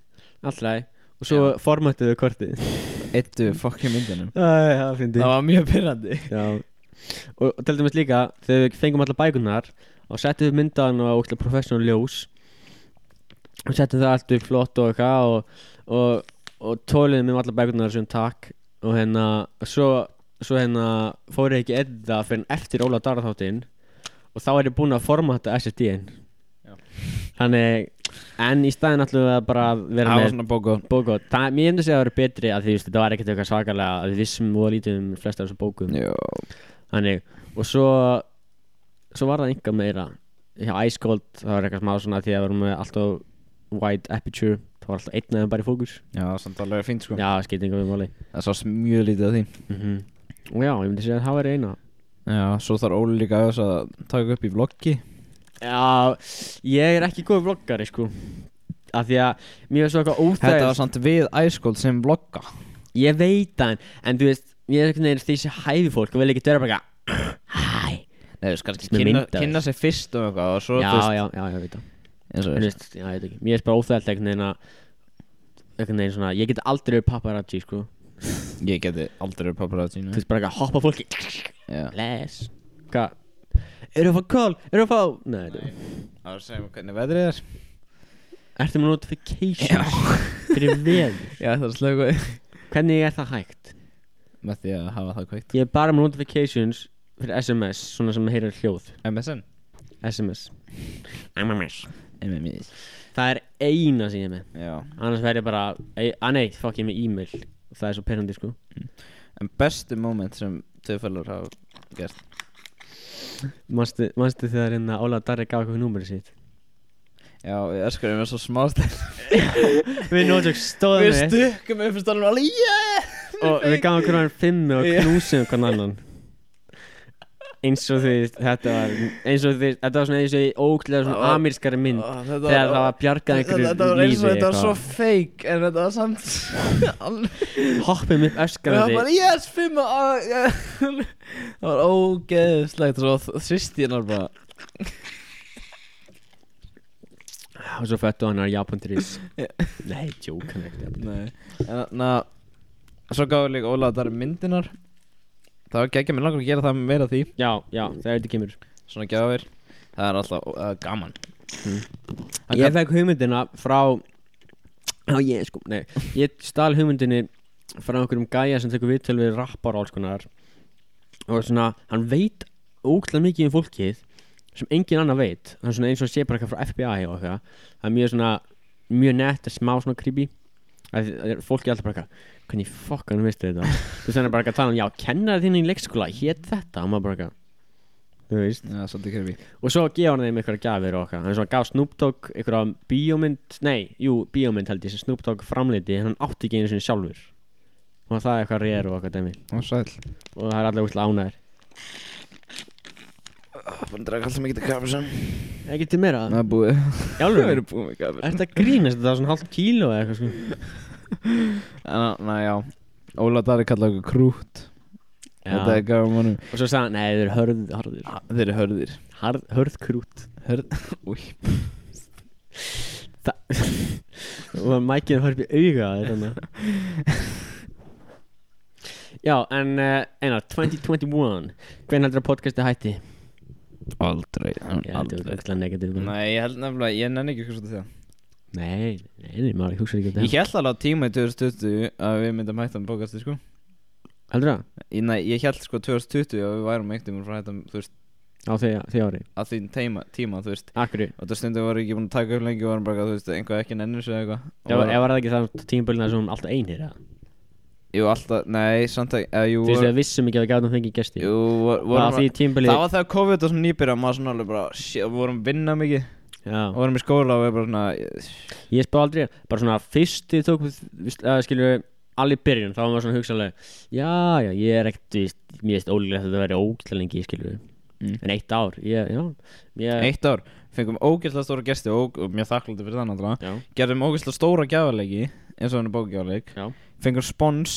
Alltaf Og svo Já. formatið við kortið Eittu fokkin myndunum Æ, það fyndi Það var mjög pyrrandi Já Og, og teltum við líka Þegar við fengum allar bækunar Og settum við myndaðan á ókslega professional ljós Og settum það allt upp flott og eitthvað Og, og, og tóliðum um allar bækunar sem takk Og hérna Svo, svo hérna fór ég ekki að edda Fyrir eftir Óla Dara þáttinn Og þá er ég búinn að formata SSD-in Já. Þannig En í staðin ætlum við að bara vera Það með var svona bóko bókot, það, mér finnst að það eru betri að því, þú veist, þetta var ekkert eitthvað svakalega að við vissum og lítið um flesta af þessu bókum Já þannig, og svo svo var það einhver meira hjá Ice Cold, það var eitthvað smá svona því að við varum með alltaf wide aperture það var alltaf einn aðeins bara í fókus Já, samt alveg fínt sko já, skiptinga við máli Það sást mjög lítið af því mm og já, ég myndi segja að það væri eina Já, svo þarf Óli líka aðeins að taka upp í vloggi já, ég er ekki góð vloggari, sko af því að mér er svo eitthvað Þetta var óþægilegt samt við æskóld sem vlogga ég veit það, en- en þú veist, ég er eitthvað þessi hæfi fólk og vil ekki dörra bara eitthvað, hæ Nei, þú veist, kannski Með kynna, mynd af kynna sig fyrst og eitthvað og svo, já, þú veist, já, já, ég veit það eins og En þú veist veist, já, ég veit ekki Mér er bara óþægilegt einhvern veginn að einhvern veginn svona Ég get aldrei verið paparazzi, sko Ég geti aldrei verið paparazzi Þú veist bara eitthvað að hoppa á fólki Já, Les Hvað? Eru að fá kól? Eru að fá Nei, Nei. það var að segja mér hvernig veðrið er Ertu með notifications [laughs] Fyrir veður Já, það er slögu Hvernig er það hægt? Með því að hafa það kveikt Ég er bara með notifications Fyrir SMS Svona sem heyrir hljóð MSN SMS MMS MMS Það er eina sem ég er með Já Annars verð ég bara ei- Ah nei, fokk ég er með e-mail Það er svo perandi, sko En bestu moment sem töfælur hafa gert Manstu, manstu þegar hérna Óla Darri gaf eitthvað númur sitt Já, ég öskur ég með svo smástæð Við nótjök stóðum Við við stukkum upp fyrir stálum alveg Yeah Og við gafum hvernig hann fimmu og knúsum hvernig annan eins og því þetta var eins og því þetta var svona eins og í óglega Það svona var- amirskari mynd Ó, þetta þegar var- það var bjargað Þetta einhverju lífi þetta var eins og þetta var svo eitthvað. fake En þetta var samt [laughs] alveg- hoppum upp Það öskrandi var yes, fimm á- [laughs] ja. Það var ógeðslegt Svo þrýsti hennar bara og svo fættu hann á japan.is nei, tjók hann er ekkert Nei En að Svo gáði líka Óla að það eru myndinar Það var geggjum Mér langar að gera það meira af því já, já, það er þetta kemur Svona gjafir Það er alltaf uh, gaman Það ég gat- fekk hugmyndina frá á ég sko, nei ég stal hugmyndinni frá einhverjum gæja sem tekur viðtöl við rappar og alls konar og svona, hann veit ógæðlega mikið um fólkið sem engin annar veit hann er svona eins og sé bara eitthvað frá FBI og eitthvað það er mjög svona, mjög nett smá svona creepy að, að fólki er alltaf bara eitthvað, hvernig fokkan veistu þetta þú veist hann er bara eitthvað að tala um, já, kennar þín í leikskóla, hét þetta og maður bara eitthvað, þú veist Já, svolítið krefi og svo gefa hann þeim einhverja gjafir og okkar hann svo gaf Snoop Dogg einhverja bíómynd nei, jú, bíómynd held ég sem Snoop Dogg framleiti en hann átti ekki einu sinni sjálfur og það er eitthvað reyður og okkar dæmi Og sæl og það er allir útla ánæður Búin að draga alltaf mikið til kafir sem ekki til meira Það er búið Við jálfur erum búið með kafir Er þetta grínast, þetta var svona halvt kíló eða eitthvað sko Næ, já Óla Dari kallaði okkur krút Þetta er Já, gafum honum og svo sagði hann, nei þeir eru hörð, harður Þeir eru hörðir Harð, hörð krút [laughs] Hörð Új Það Og mækinn hörð í auga þér þarna. [laughs] Já, en uh, Einar, 2021 Hvernig heldur að podcasti hætti? Aldrei Ég held að Mm, Aldrei þetta er negativ Nei, ég held nefnilega Ég nenni ekki eitthvað svolítið Nei, nei, nei, maður hugsa ekki um það þetta Ég held alveg á tíma í 2020 Að við myndum hætta með bókastir sko Heldur það? Ég- Nei, ég held sko 2020 Að við værum ekkert um frá hætta Þú veist Á því, því ári Að því teima, tíma Þú veist Akkur Og það stundum voru ekki búin að taka upp lengi og Varum bara þú veist Einhvað ekki nennir sig eða eitthvað Og Ef var- var það ekki það tímabölina sem hún alltaf einir eða? Jú, alltaf Nei, samt ekki eða, Jú, Þú veist við vissum ekki að við gætum fengið gesti jú vor- Það var vorum því tímaböli Það var þegar COVID og svona nýbyrja Maður svona alveg bara Shit, vorum að vinna mikið Og Já, vorum í skóla og við bara svona ég spá aldrei Bara svona fyrst þið tók við- eða skilur við Allir byrjun, þá var maður svona hugsaðlega Já, já, ég er ekkert víst, Mér veist ólíklegt að þetta væri ógætlega lengi, skilur við Mm. En eitt ár, ég, já ég, Eitt ár Fengum ógeðslega stóra gesti og, og mjög þakkláttur fyrir það náttúrulega Já, Gerðum ógeðslega stóra gjafarleiki eins og hann er bókgjafarleik já Fengum spons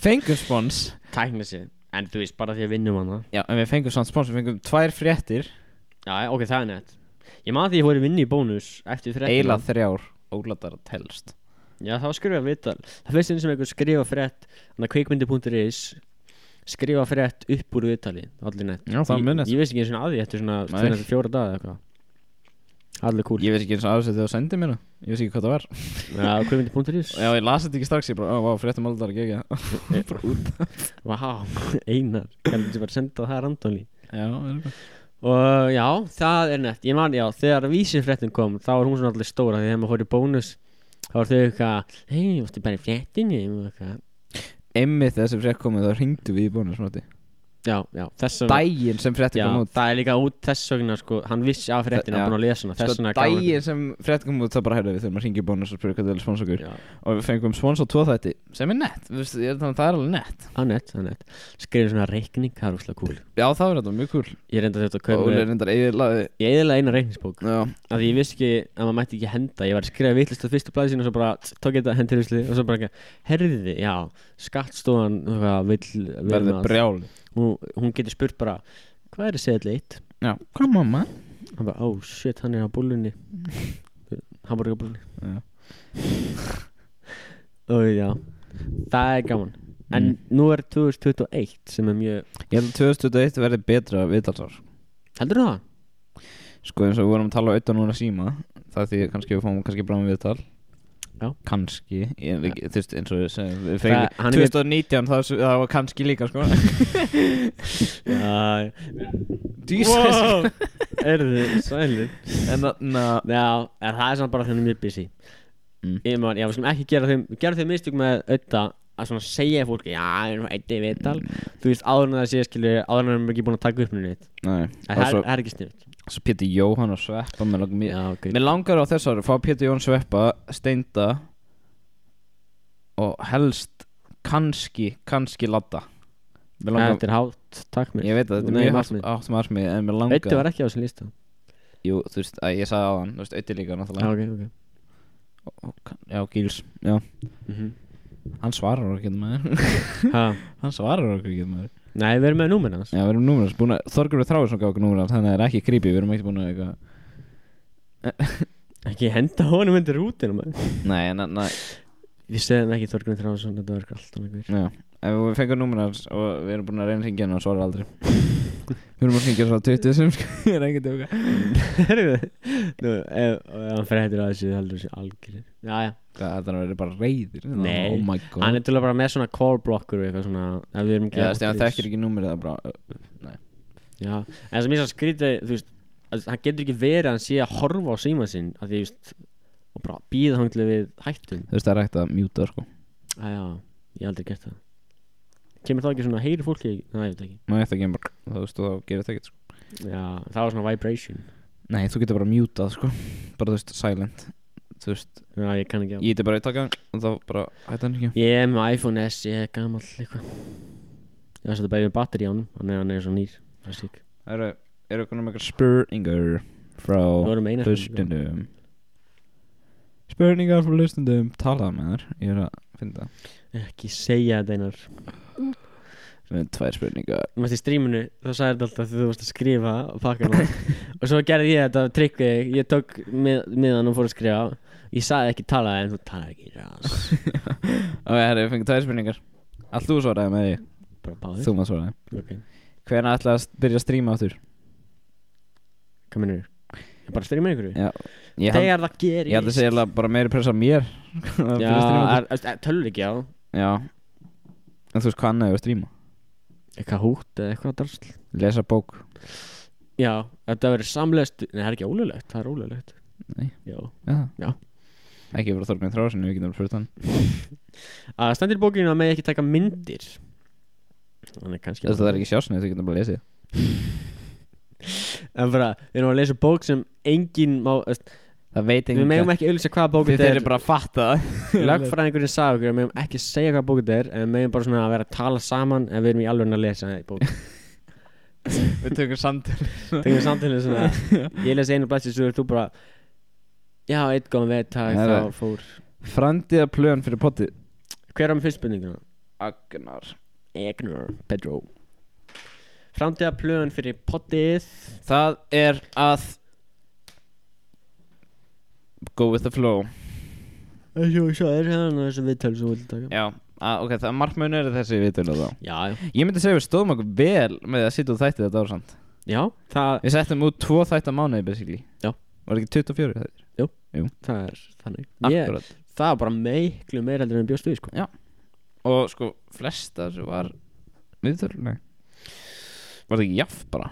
Fengum spons Tækna sig En þú veist, bara því að vinnum hana Já, en við fengum samt spons Við fengum tvær fréttir Já, ok, það er nett Ég maður því ég fór í vinnu í bónus Eftir fréttina. Eila þrjár Óglatar að telst Já, það var skrifað viðtal Það finnst eins og einhver skrifa frétt Þannig að kveikmyndi.is Skrifa frétt upp úr viðtali Allir nett Já, það Ég- munið. Ég veist ekki eins og að því Eftir svona Nei. þegar þetta fjóra daga eða eitthvað Allir kúl Ég veist ekki eins og aðeins þegar þú sendið mér það Ég veist ekki hvað það var Já, kveikmyndi.is Já, ég las þetta ekki strax Ég bara, ó, vá, fréttum óglatar að [laughs] gegja Vá, [laughs] einar Kannum þetta bara senda það randóli [laughs] Já, er eitthvað. Og já, það er nett Ég man, já, þegar vísifréttin kom Þá var hún svona allir stóra Þegar maður fór í bónus Þá var þau eitthvað Hei, varstu bara í fréttinni Og eitthvað. Einmitt þegar þessi frétt komið þá hringdu við í bónus Matti. Já, já, þess vegna- Daginn sem frétt Já, kom út það er líka út þess vegna sko, hann vissi af fréttina Já. búin að lesa hana þess Sko, vegna gaf hann- daginn sem frétt kom út þá bara herðu við þurfum að hringja í bónus og spyrja hvað það er spons okkur Já, og við fengum spons á tvo þætti sem er nett, þú veist, ég, þannig að það er alveg nett annett, annett skrifum svona reikning, það er úrslega cool já það var þetta mjög kúl ég reynda þetta að og kaupa Óli mér- er reyndar eiginlega ég eðla eina reikningsbók já, af því ég vissi ekki að maður mætti ekki henda ég var að skrifa vitlist á fyrstu blæði sín og svo bara tss, tók ég þetta hendirvisli og svo bara ekki herðiði, já, skattstofan eitthvað, vill, vill verður að- brjál hún, hún getur spurt bara hvað er þessi eðla eitt? já, hvað mamma hann bara, oh shit, hann er á búlunni Mm. [laughs] hamburgabúlunni Já. [laughs] og já það er gaman en nú er 2021 sem er mjög ég held að 2021 verði betra viðtalsár heldur það? sko eins og við vorum að tala auðvitað núna síma það er því kannski við fáum kannski bráðum viðtal Já. kannski ég, við, þú veist eins og við segjum við Það- fengum hann er- 2019 það, það var kannski líka sko Uh, Jesus [laughs] er þið sælir en þarna já, en það er samt bara þannig mjög busy Mm. ég man, já, við skulum ekki gera þeim gera þeim mistök með auðvitað að svona segja fólki, já, ég er nú eitt í viðtal þú veist, áður en það sé, skilur, áður en við erum ekki búin að taka upp nýtt, nei það og er, svo, það er ekki sniðut svo Pétur Jóhann og Sveppa mér langar mér já, ok, Mér langar á þess ári að fá Pétur Jón Sveppa, Steinda og helst kannski, kannski Latta Mér langar- Þetta er hátt, takk mér Ég veit að þetta er Nei, mjög hátt- markmið. hátt markmið En mér langar Veittu var ekki á þessum lísta Jú, þú veist, að ég sagði á hann Þú veist, Ötti líka Já, náttúrulega Ah, ok, ok Já, Gils Já, Mhm. hann svarar okkur getur maður [laughs] [laughs] Ha. Hann svarar okkur getur maður Nei, við erum með númina hans Já, við erum númur búin að Þorgur og Þráður sem gaf okkur númur Þannig að það er ekki creepy Við erum ekki búin að eitthvað Ekki henda honum undir rútinu maður. Nei, nei, nei Við segðum ekki Þorgrun Þráðsson Þetta var alltaf einhver [laughs] Já, ef við fengum númur hans Og við erum búin að reyna að ringja hann Og hann svarar aldrei Við erum að ringja svo 20 sem sko, [laughs] Ég er ekki að tjóka Herðu Nú, ef ef hann fyrir hættur að þessu Þú heldur þessu algjörir Jæja Það er að vera bara reyðir Nei. Oh my Hann god er til að bara með svona call blocker og eitthvað svona Ef við erum ekki Já, að- þegar þekkir ekki númur Það er bara uh, Já En sem ég svo skrítið Þú veist að Hann getur ekki verið að hann sé að horfa á síma sinn Að því, þú veist Og bara býða hann til við hættum Þú veist, það er hægt að mjúta sko Æja Ég hef aldrei gert það Kemur þá ekki svona Heyri fólki Næ, ég veit ekki Má eftir að kemur Þú veist, þú gerir það ekki sko Já Það var svona vibration Nei, þú getur bara mjútað sko Bara, þú veist, silent Þú veist, Já, ég kann ekki á ég íti bara í takkan Og þá bara hætti hann ekki Ég er með iPhone S, ég er gammal eitthvað Ég var svolítið bæðið með batteri á hann Þannig að hann er svo nýr Það er sík Eru, eru okkur um eitthvað spurningar Frá Við vorum með eina spurningu. hlustundum Spurningar frá hlustundum Talaðu með þær, ég er að finna Ekki segja þetta einar Við erum tvær spurningar Þú veist í stríminu þá sagði þetta alltaf þegar þú varst að skrifa og pakka [laughs] hann Og svo gerði ég þetta trikk Ég tók mið, miðan og fór að skrifa Ég sagði ekki tala en þú talaði ekki ras. Ok, herri, við fengum tvær spurningar Allt þú svaraði með því, Bara báðið þú maður svaraði Ok, Hvernig ætlaði að byrja að stríma áttur? hvað minnur Ég bara stríma ykkur Já, ég held Þegar það gerist Ég held að segja eiginlega bara meiri pressa á mér [laughs] að byrja að streama aftur. Já, tölur ekki á Já En þú veist hvað annað er að stríma Eitthvað hút eða eitthvað drasl Lesa bók Já, þetta verður samlegst Nei, það er ekki ólulegt, það er ólulegt Nei. Já Já, Já. Ekki frá Þorgrin Þráðsson, við getum alveg spurt hann Að stendir í bókinu að með ekki taka myndir Þannig kannski Þetta er ekki sjásnið, þú getum bara lesið En bara, við erum að lesa bók sem engin má öst, Það veit Við megum ekki auðvitað hvaða bók Þið þetta þeirri er bara að fatta [laughs] Lagfræðingurinn sagði okkur að Við megum ekki segja hvaða bók þetta er En við megum bara svona að vera að tala saman En við erum í alveg að lesa í [laughs] bók Við tökum [laughs] samtölu Þegar við samtalið svona Ég les einu blæsið svo er þú bara Já, eitt góðan veit, Nei, það nei. þá fór Framtíða plön fyrir potti Hver var með fyrst spurninguna? Agnar Egnar Pedro Framtíða plöðun fyrir poddið Það er að Go with the flow Þessu og svo er hérna þessu viðtölu sem við taka Já, að, ok, það markmöðun er þessi viðtölu þá Já, Ég myndi segja við stóðum okkur vel með að sitja úr þætti þetta ára samt já, það, Við settum út tvo þætt að mánuði basically Já. Var ekki 24 þættir? það er þannig ég, Akkurat Það var bara miklu meira heldur en bjóst við sko. Og sko flestar var Viðtöl, nei Var það ekki jaff bara?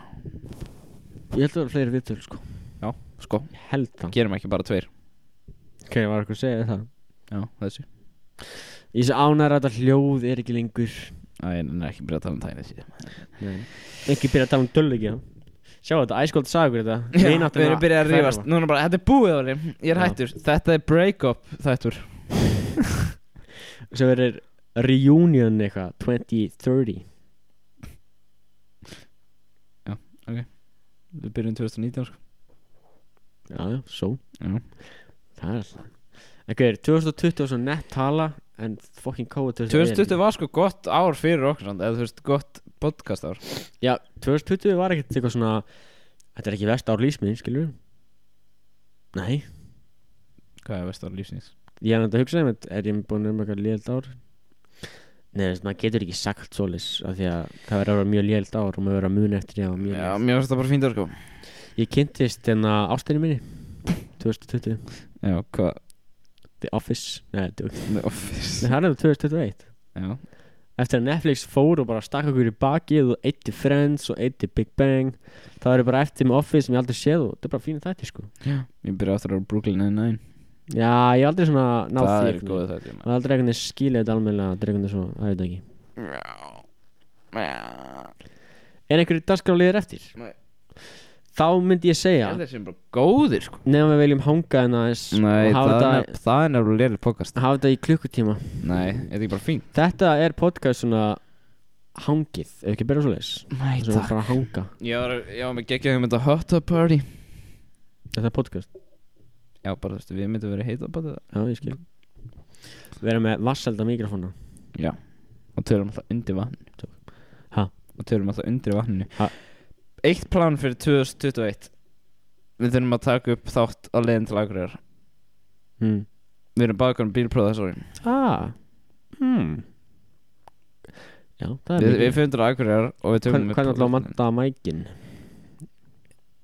Ég held að það var fleiri viðtölu sko. Já, sko Ég held það Gerum ekki bara tveir Ok, var eitthvað að segja það Já, þessu Ég sé ánæður að þetta hljóð er ekki lengur Æ, en ekki byrja að tala um tækni síðan Nei. Ekki byrja að tala um dölleikja Sjá þetta, æskóld sagur þetta Já, Vináttan við erum byrjað að hverfa. rífast Núna bara, þetta er búið ári Ég er Já. hættur Þetta er break-up þættur Svo verður reunion eitthvað 2030 Við byrjum 2019 sko Já, já, svo Já. Það er alltaf En hver, 2020 var svo nett tala En fucking kóa 2020 hérna? var sko gott ár fyrir okkur samt, Eða þú veist, gott podcast ár Já, 2020 var ekkert eitthvað svona Þetta er ekki vest ár lífsmið, skilur Nei Hvað er vest ár lífsins? Ég hef þetta hugsaði með Er ég búin um eitthvað lélt ár Nei, þess, maður getur ekki sagt svolis af því að það verður að vera mjög lélt ár og maður verður að muna eftir því að það var mjög Já, lélt mér finnst það bara fínt ár sko Ég kynntist en að ástinni minni 2020 Já, hvað? The Office Nei, djók. The Office Nei, það er nú 2021 Já, eftir að Netflix fór og bara stakk okkur í bakið og eitt til Friends og eitt til Big Bang það eru bara eftir með Office sem ég aldrei séð og það er bara fínir þætti sko ég byrja aftur á Brooklyn Nine-Nine já, ég hef aldrei svona náð því Það er einhvern góð veginn. þetta og aldrei einhvern veginn skilja þetta almennilega það er einhvern veginn svo, það veit ekki er einhverju dagskráliðir eftir? Nei. þá myndi ég segja Það er bara góðir sko nefnum við viljum hanga en aðeins Nei, og hafa það þetta, er, það er nefnilega lélir podcast hafa þetta í klukkutíma Nei, er þetta ekki bara fínt? þetta er podcast svona hangið ef ekki byrja svo leis Nei, þess að bara að hanga Ég var, ég var með geggjum um þetta hot tub party þetta er podcast Já, bara þú veist, við myndum verið heita bara það já ég skil vera með vasselda mikrofóna Já Og törum alltaf undir vatninu Ha? Og törum alltaf undir vatninu Ha? Eitt plan fyrir 2021 Við þurfum að taka upp þátt á leiðin til Akureyrar hmm. Við erum báðið um bílpróða þessu ári ah hmm. já það er Við, mikið. við fundur á Akureyrar og við tökum Hvern- hvernig ætlaðu að manta mækin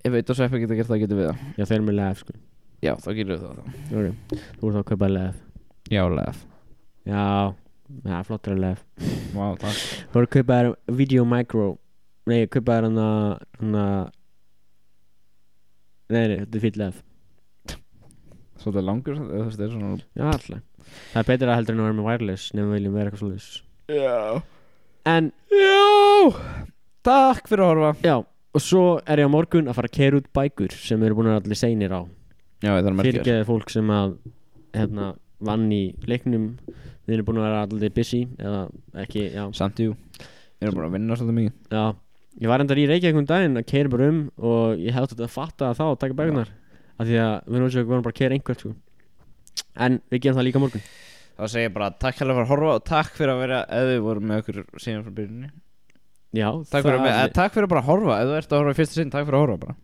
Ég veit og sveppa geta gert það getum við það já þeir eru með lef sko Já, þá gerum við það þá. Jú, jú. þú ert að kaupa lef Já, lef já já flottur lef Vá, takk Þú voru að kaupa þér Video Micro Nei, ég kaupa þér hann að Hann að Nei, nei, þetta er fýll lef Svolítið langur, þú veist, það er svona Já, alltaf Það er betra heldur en að vera með wireless Nefnum við viljum vera eitthvað svolítið Já En, Já Takk fyrir að horfa já Og svo er ég á morgun að fara að kera út bækur Sem eru búin að vera allir seinir á Já, það er merkjör Fyrirgeði fólk sem að Hérna, vann í leiknum Þeir eru búin að vera allir busy Eða ekki, já Samt jú Ég er bara að vinna svolítið mikið Já, ég var endar í Reykjavík um daginn að keira bara um og ég hefði átt að fatta það þá og taka bækunar af því að við erum við vorum bara að keira einhvert sko. en við gerum það líka á morgun Þá segir ég bara takk hérlega fyrir að horfa og takk fyrir að vera eða við vorum með okkur síðan frá byrjunni Já, Takk fyrir, að með, eða, takk fyrir bara að horfa eða þú ert að horfa í fyrsta sinn, takk fyrir að horfa bara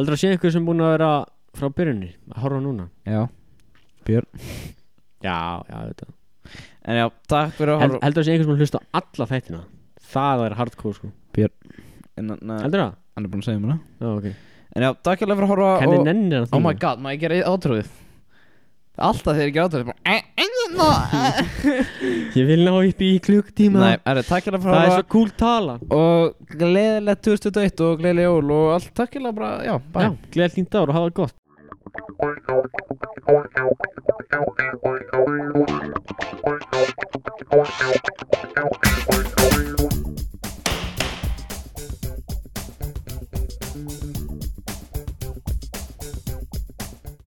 Heldur að sé einhver sem búin að vera frá byrjunni að horfa núna Já Björn Já, já, þetta En já, takk fyrir að Hel, horfa Heldur að sé einhver sem búin að hlusta á alla þættina Það er hardcore sko En en, en, Heldur það? hann er búin að segja mér það Já, ok En já, takk hérlega fyrir að horfa Kenni og- nennir hann Oh my god, maður gerir átrúið Alltaf þegar ég gerir átrúið bara, eh, eh, eh, Ég vil ná upp í eh. klukktíma Nei, herri, takk hérlega Það fyrir er að horfa svo cool tala Og gleðilegt 2021 og gleðileg jól og allt takk hérlega bara, já, bæ Já, gleðið þín dagur og hafa það gott Thank you.